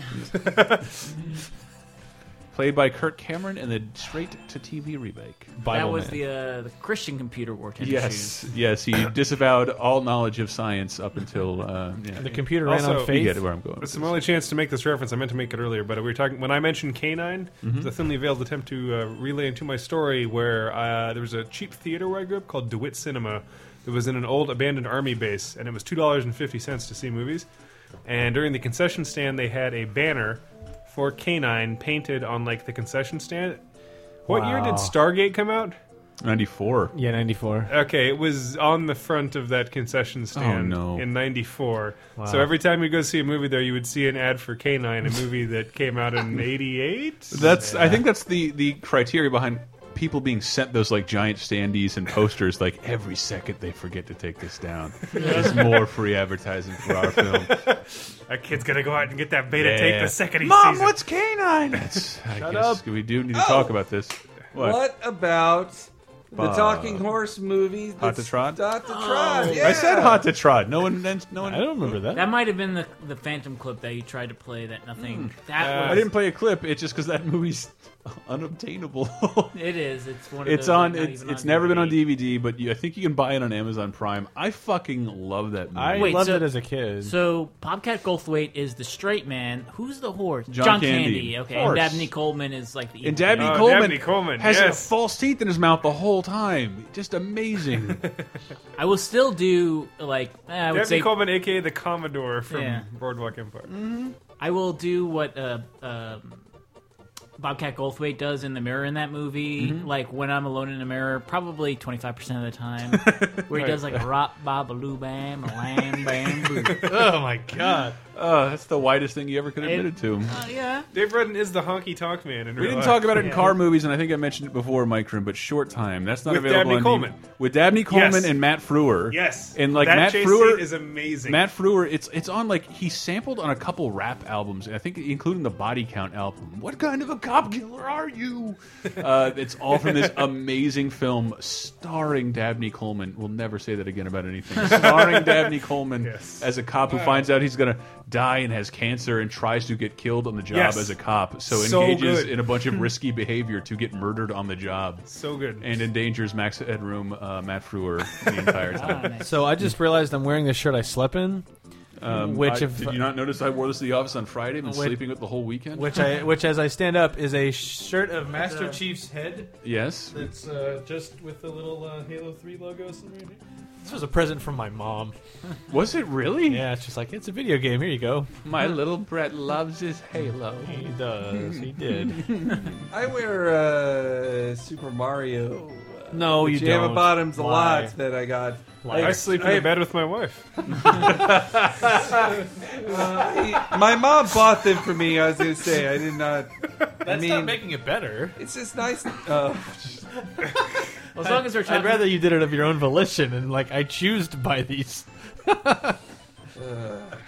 [SPEAKER 5] Played by Kurt Cameron in the straight-to-TV remake.
[SPEAKER 7] that was the uh, the Christian computer war tennis
[SPEAKER 5] Yes,
[SPEAKER 7] shoes.
[SPEAKER 5] yes, he disavowed all knowledge of science up until uh, yeah.
[SPEAKER 4] also,
[SPEAKER 5] You get where I'm going. with
[SPEAKER 4] It's my only chance to make this reference. I meant to make it earlier, but we were talking when I mentioned Canine. It was a thinly veiled attempt to uh, relay into my story where uh, there was a cheap theater where I grew up called DeWitt Cinema. It was in an old abandoned army base, and it was two dollars and fifty cents to see movies. And during the concession stand, they had a banner for Canine painted on like the concession stand. What year
[SPEAKER 6] Wow.
[SPEAKER 4] did Stargate come out?
[SPEAKER 5] Ninety-four.
[SPEAKER 6] Yeah, ninety four.
[SPEAKER 4] Okay, it was on the front of that concession stand
[SPEAKER 5] Oh, no.
[SPEAKER 4] in '94.
[SPEAKER 5] Wow.
[SPEAKER 4] So every time you go see a movie there, you would see an ad for Canine, a movie that came out in '88.
[SPEAKER 5] That's I think that's the the criteria behind people being sent those like giant standees and posters like every second they forget to take this down. There's more free advertising for our film.
[SPEAKER 4] a kid's gonna go out and get that beta
[SPEAKER 5] Yeah.
[SPEAKER 4] tape the second he
[SPEAKER 5] Mom,
[SPEAKER 4] sees
[SPEAKER 5] what's canine? That's, I
[SPEAKER 3] Shut
[SPEAKER 5] guess
[SPEAKER 3] up.
[SPEAKER 5] we do need to
[SPEAKER 3] Oh.
[SPEAKER 5] talk about this.
[SPEAKER 3] What, about
[SPEAKER 5] Bob.
[SPEAKER 3] the talking horse movie?
[SPEAKER 5] Hot to Trot?
[SPEAKER 3] Hot to Trot. Yeah.
[SPEAKER 5] I said hot to trot. No one no one I don't remember
[SPEAKER 7] That might have been the the Phantom clip that you tried to play. That nothing. That
[SPEAKER 5] Hmm. Uh, I
[SPEAKER 7] was,
[SPEAKER 5] didn't play a clip. It's just because that movie's unobtainable.
[SPEAKER 7] It is. It's one. Of
[SPEAKER 5] it's
[SPEAKER 7] those,
[SPEAKER 5] on.
[SPEAKER 7] not
[SPEAKER 5] It's,
[SPEAKER 7] even
[SPEAKER 5] it's
[SPEAKER 7] on
[SPEAKER 5] never been on DVD, but you, I think you can buy it on Amazon Prime. I fucking love that movie.
[SPEAKER 7] Wait, so- So Bobcat Goldthwait is the straight man. Who's the horse?
[SPEAKER 5] John Candy.
[SPEAKER 7] Okay.
[SPEAKER 5] Horse.
[SPEAKER 7] And Dabney Coleman is like the. evil
[SPEAKER 5] And Dabney
[SPEAKER 4] Oh,
[SPEAKER 7] guy.
[SPEAKER 5] Coleman, has uh, false teeth in his mouth the whole time. Just amazing.
[SPEAKER 7] I will still do like eh, I would
[SPEAKER 4] Dabney
[SPEAKER 7] say
[SPEAKER 4] Coleman, aka the Commodore from
[SPEAKER 7] Yeah.
[SPEAKER 4] Boardwalk Empire.
[SPEAKER 7] I will do what uh, um Bobcat Goldthwait does in the mirror in that movie.
[SPEAKER 5] Mm-hmm.
[SPEAKER 4] Mhm.
[SPEAKER 7] Like when I'm alone in the mirror, probably 25 percent of the time, where he
[SPEAKER 5] Right.
[SPEAKER 7] does like rock, babaloo, bam, a lam, bam, boo.
[SPEAKER 5] Uh, that's the widest thing you ever could have admitted to.
[SPEAKER 7] yeah.
[SPEAKER 4] Dave Rudden is the honky tonk man. In
[SPEAKER 5] we didn't talk about it in car movies, and I think I mentioned it before, Mike Room, but Short Time. That's not
[SPEAKER 4] With
[SPEAKER 5] available
[SPEAKER 4] Dabney
[SPEAKER 5] on
[SPEAKER 4] Coleman.
[SPEAKER 5] DVD. with Dabney Coleman
[SPEAKER 4] Yes.
[SPEAKER 5] and Matt Frewer.
[SPEAKER 4] Yes.
[SPEAKER 5] and like
[SPEAKER 4] That
[SPEAKER 5] Matt
[SPEAKER 4] chase
[SPEAKER 5] Frewer
[SPEAKER 4] scene is amazing.
[SPEAKER 5] Matt Frewer, it's it's on like he sampled on a couple rap albums, I think including the Body Count album. What kind of a cop killer are you? uh, it's all from this amazing film starring Dabney Coleman. We'll never say that again about anything. Starring Dabney Coleman as a cop who
[SPEAKER 4] Wow.
[SPEAKER 5] finds out he's going to die and has cancer and tries to get killed on the job
[SPEAKER 4] Yes.
[SPEAKER 5] as a cop. So
[SPEAKER 4] So
[SPEAKER 5] engages
[SPEAKER 4] good.
[SPEAKER 5] in a bunch of risky behavior to get murdered on the job.
[SPEAKER 4] So good.
[SPEAKER 5] And endangers Max Headroom, uh, Matt Frewer the entire time.
[SPEAKER 6] So I just realized I'm wearing the shirt I slept in,
[SPEAKER 5] Um,
[SPEAKER 6] which
[SPEAKER 5] I-
[SPEAKER 6] if
[SPEAKER 5] did you not notice I wore this to the office on Friday and been
[SPEAKER 6] Which-
[SPEAKER 5] sleeping with the whole weekend?
[SPEAKER 6] which I which as I stand up is a shirt of Master Chief's head.
[SPEAKER 5] Yes.
[SPEAKER 6] That's uh, just with the little uh, Halo Three logo. Somewhere here. This was
[SPEAKER 4] a
[SPEAKER 6] a present from my mom.
[SPEAKER 5] Was it really?
[SPEAKER 6] Yeah, it's just like it's a video game. Here you go.
[SPEAKER 5] My little Brett loves his Halo.
[SPEAKER 6] He does. He did.
[SPEAKER 3] I wear uh, Super Mario. uh,
[SPEAKER 6] No, Oh, you
[SPEAKER 3] pajama
[SPEAKER 6] don't.
[SPEAKER 3] bottoms a
[SPEAKER 6] Why?
[SPEAKER 3] lot that I got.
[SPEAKER 4] I, sleep in a bed with my wife.
[SPEAKER 3] My mom bought them for me. I was gonna say I did not. I
[SPEAKER 6] That's
[SPEAKER 3] mean,
[SPEAKER 6] not making it better.
[SPEAKER 3] It's just nice. Uh,
[SPEAKER 7] Well, as long as they're
[SPEAKER 6] I'd
[SPEAKER 7] talking,
[SPEAKER 6] rather you did it of your own volition and like I choose to buy these.
[SPEAKER 7] as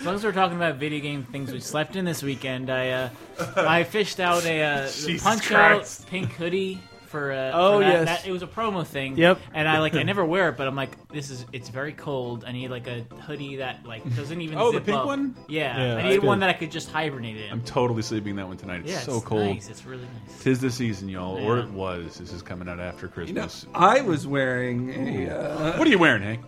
[SPEAKER 7] long as we're talking about video game things we slept in this weekend, I uh, I fished out a uh,
[SPEAKER 6] Jesus
[SPEAKER 7] punch
[SPEAKER 6] Christ.
[SPEAKER 7] out pink hoodie for. Uh,
[SPEAKER 6] Oh,
[SPEAKER 7] for that,
[SPEAKER 6] yes.
[SPEAKER 7] that- it was a promo thing.
[SPEAKER 6] Yep.
[SPEAKER 7] And I like I never wear it, but I'm like this is it's very cold. I need like a hoodie that like doesn't even.
[SPEAKER 5] Oh, the
[SPEAKER 7] zip
[SPEAKER 5] pink
[SPEAKER 7] up.
[SPEAKER 5] one?
[SPEAKER 7] Yeah.
[SPEAKER 5] Yeah,
[SPEAKER 7] I
[SPEAKER 5] that's
[SPEAKER 7] need one
[SPEAKER 5] good.
[SPEAKER 7] that I could just hibernate in.
[SPEAKER 5] I'm totally sleeping that one tonight. It's
[SPEAKER 7] Yeah,
[SPEAKER 5] so
[SPEAKER 7] it's
[SPEAKER 5] cold.
[SPEAKER 7] nice. It's really nice.
[SPEAKER 5] Tis the season, y'all, or
[SPEAKER 7] Yeah.
[SPEAKER 5] it was. This is coming out after Christmas.
[SPEAKER 3] I was wearing a. Uh,
[SPEAKER 5] What are you wearing, Hank?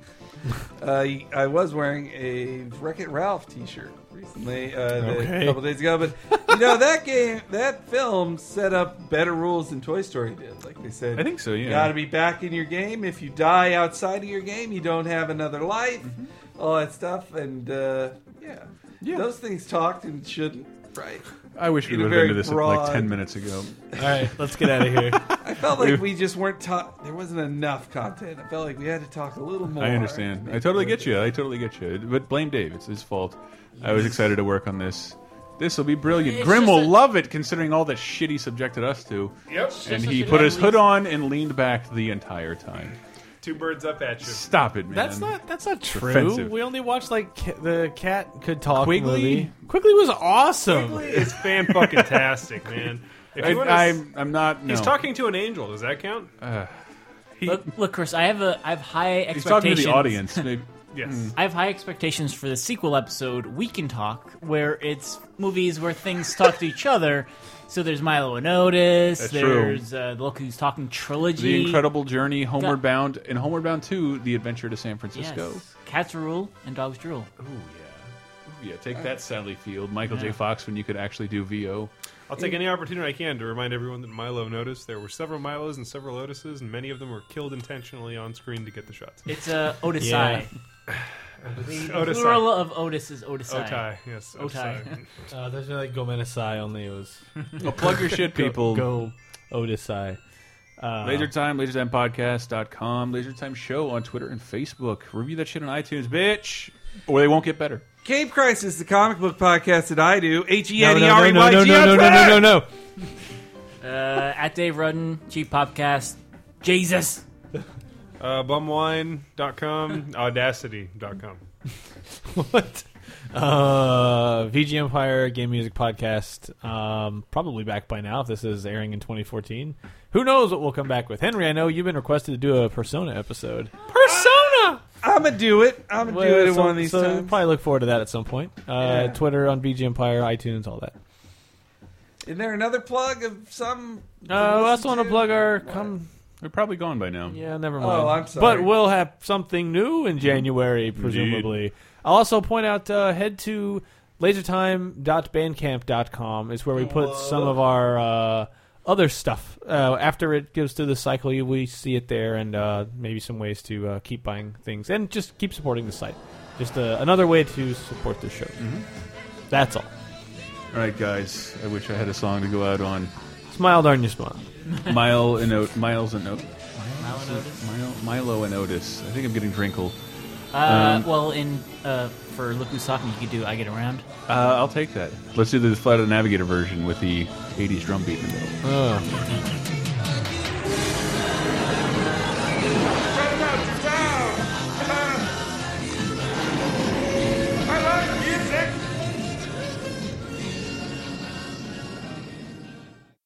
[SPEAKER 3] Uh, I was wearing a Wreck It Ralph T-shirt recently, uh, that-
[SPEAKER 5] Okay.
[SPEAKER 3] a couple days ago. But you know that game, that film set up better rules than Toy Story did. Like they said,
[SPEAKER 5] I think so, yeah.
[SPEAKER 3] you got to be back in your game. If you die outside of your game, you don't have another
[SPEAKER 5] Mm-hmm.
[SPEAKER 3] life. All that stuff, and uh, yeah. yeah, those things talked and shouldn't. Right.
[SPEAKER 5] I wish we
[SPEAKER 3] In a
[SPEAKER 5] would have
[SPEAKER 3] very
[SPEAKER 5] into this
[SPEAKER 3] broad-
[SPEAKER 5] like ten minutes ago.
[SPEAKER 3] All
[SPEAKER 6] right, let's get outta here.
[SPEAKER 3] I felt like
[SPEAKER 5] We've-
[SPEAKER 3] we just weren't taught. There wasn't enough content. I felt like we had to talk a little more.
[SPEAKER 5] I understand. I totally get you. I totally get you. But blame Dave. It's his fault. I was excited to work on this. This will be brilliant.
[SPEAKER 6] It's
[SPEAKER 5] Grim
[SPEAKER 6] just
[SPEAKER 5] will
[SPEAKER 6] a-
[SPEAKER 5] love it, considering all that shit he subjected us to.
[SPEAKER 4] Yep. It's
[SPEAKER 5] And
[SPEAKER 4] just
[SPEAKER 5] he
[SPEAKER 4] a
[SPEAKER 5] put his
[SPEAKER 4] shitty
[SPEAKER 5] hood on and leaned back the entire time.
[SPEAKER 4] Two birds up at you.
[SPEAKER 5] Stop it, man.
[SPEAKER 6] That's not that's not
[SPEAKER 5] It's
[SPEAKER 6] true.
[SPEAKER 5] offensive.
[SPEAKER 6] We only watched like ca- the cat could talk
[SPEAKER 5] Quigley?
[SPEAKER 6] movie. Quigley was awesome.
[SPEAKER 4] It's fan fucking tastic, man.
[SPEAKER 5] I-
[SPEAKER 4] wanna-
[SPEAKER 5] I'm- I'm not-
[SPEAKER 4] He's
[SPEAKER 5] no.
[SPEAKER 4] talking to an angel. Does that count?
[SPEAKER 5] Uh,
[SPEAKER 7] look, look, Chris, I have a I have high
[SPEAKER 5] He's
[SPEAKER 7] expectations.
[SPEAKER 5] talking to the audience. Maybe- hmm.
[SPEAKER 4] yes.
[SPEAKER 7] I have high expectations for the sequel episode, We Can Talk, where it's movies where things talk to each other. So there's Milo and Otis.
[SPEAKER 5] That's true.
[SPEAKER 7] there's uh, the Look Who's Talking trilogy.
[SPEAKER 5] The Incredible Journey, Homeward
[SPEAKER 7] Got-
[SPEAKER 5] Bound, and Homeward Bound 2, The Adventure to San Francisco.
[SPEAKER 7] Yes. Cats rule and dogs drool.
[SPEAKER 5] Ooh yeah. Ooh, yeah, take that, Sally Field. Michael J.
[SPEAKER 4] Yeah.
[SPEAKER 5] Fox, when you could actually do VO.
[SPEAKER 4] I'll take any opportunity I can to remind everyone that Milo noticed there were several Milos and several Otises, and many of them were killed intentionally on screen to get the shots.
[SPEAKER 7] It's uh, Otisai. The
[SPEAKER 4] Otis.
[SPEAKER 7] plural of Otis uh, is Otisai.
[SPEAKER 4] Otai, yes,
[SPEAKER 7] Otai.
[SPEAKER 6] Uh, there's no like Gomenisai only. It was.
[SPEAKER 5] Well, plug your shit,
[SPEAKER 6] Go-
[SPEAKER 5] people.
[SPEAKER 6] Go, Otisai. Uh,
[SPEAKER 5] LaserTime, LaserTimePodcast.com, LaserTime Show on Twitter and Facebook. Review that shit on iTunes, bitch, or they won't get better.
[SPEAKER 3] Cape Crisis, the comic book podcast that I do. H e
[SPEAKER 5] No,
[SPEAKER 3] n
[SPEAKER 5] no,
[SPEAKER 3] e
[SPEAKER 5] no,
[SPEAKER 3] r e
[SPEAKER 5] no,
[SPEAKER 3] y
[SPEAKER 5] no,
[SPEAKER 3] g
[SPEAKER 5] no, no, no, no, no.
[SPEAKER 7] Uh, at Dave Rudden, Cheap Popcast, Jesus.
[SPEAKER 4] Uh, bumwine.com, audacity.com.
[SPEAKER 6] what? Uh, VG Empire Game Music Podcast. Um, probably back by now if this is airing in 2014. Who knows what we'll come back with? Henry, I know you've been requested to do a Persona episode.
[SPEAKER 3] Persona. I'ma do it. I'ma
[SPEAKER 6] Well,
[SPEAKER 3] do it at
[SPEAKER 6] so-
[SPEAKER 3] one of these
[SPEAKER 6] so
[SPEAKER 3] times.
[SPEAKER 6] Probably look forward to that at some point. Uh,
[SPEAKER 3] Yeah.
[SPEAKER 6] Twitter on VG Empire, iTunes, all that.
[SPEAKER 3] Is there another plug of some?
[SPEAKER 6] Uh, we also want to plug our come.
[SPEAKER 5] They're probably gone by now.
[SPEAKER 6] Yeah, never mind.
[SPEAKER 3] Oh, I'm sorry. Mm-hmm.
[SPEAKER 6] But we'll have something new in January, presumably. I'll also point out uh, head to lasertime.bandcamp.com is where we put some of our uh, other stuff. Uh, after it goes through the cycle, you- we see it there and uh, maybe some ways to uh, keep buying things and just keep supporting the site. Just uh, another way to support the show.
[SPEAKER 3] Mm-hmm.
[SPEAKER 6] That's all.
[SPEAKER 5] All right, guys, I wish I had a song to go out on.
[SPEAKER 6] Smile, darn you, smile.
[SPEAKER 5] Mile and Ot- Miles and Otis.
[SPEAKER 7] Milo and Otis.
[SPEAKER 5] Milo, Milo and Otis. I think I'm getting Drinkle.
[SPEAKER 7] Uh,
[SPEAKER 5] Um,
[SPEAKER 7] well, in uh, for Look Who's Talking, you could do I Get Around.
[SPEAKER 5] uh, I'll take that. Let's do the Flight of the Navigator version with the 80s drum beat in the middle.
[SPEAKER 6] Oh.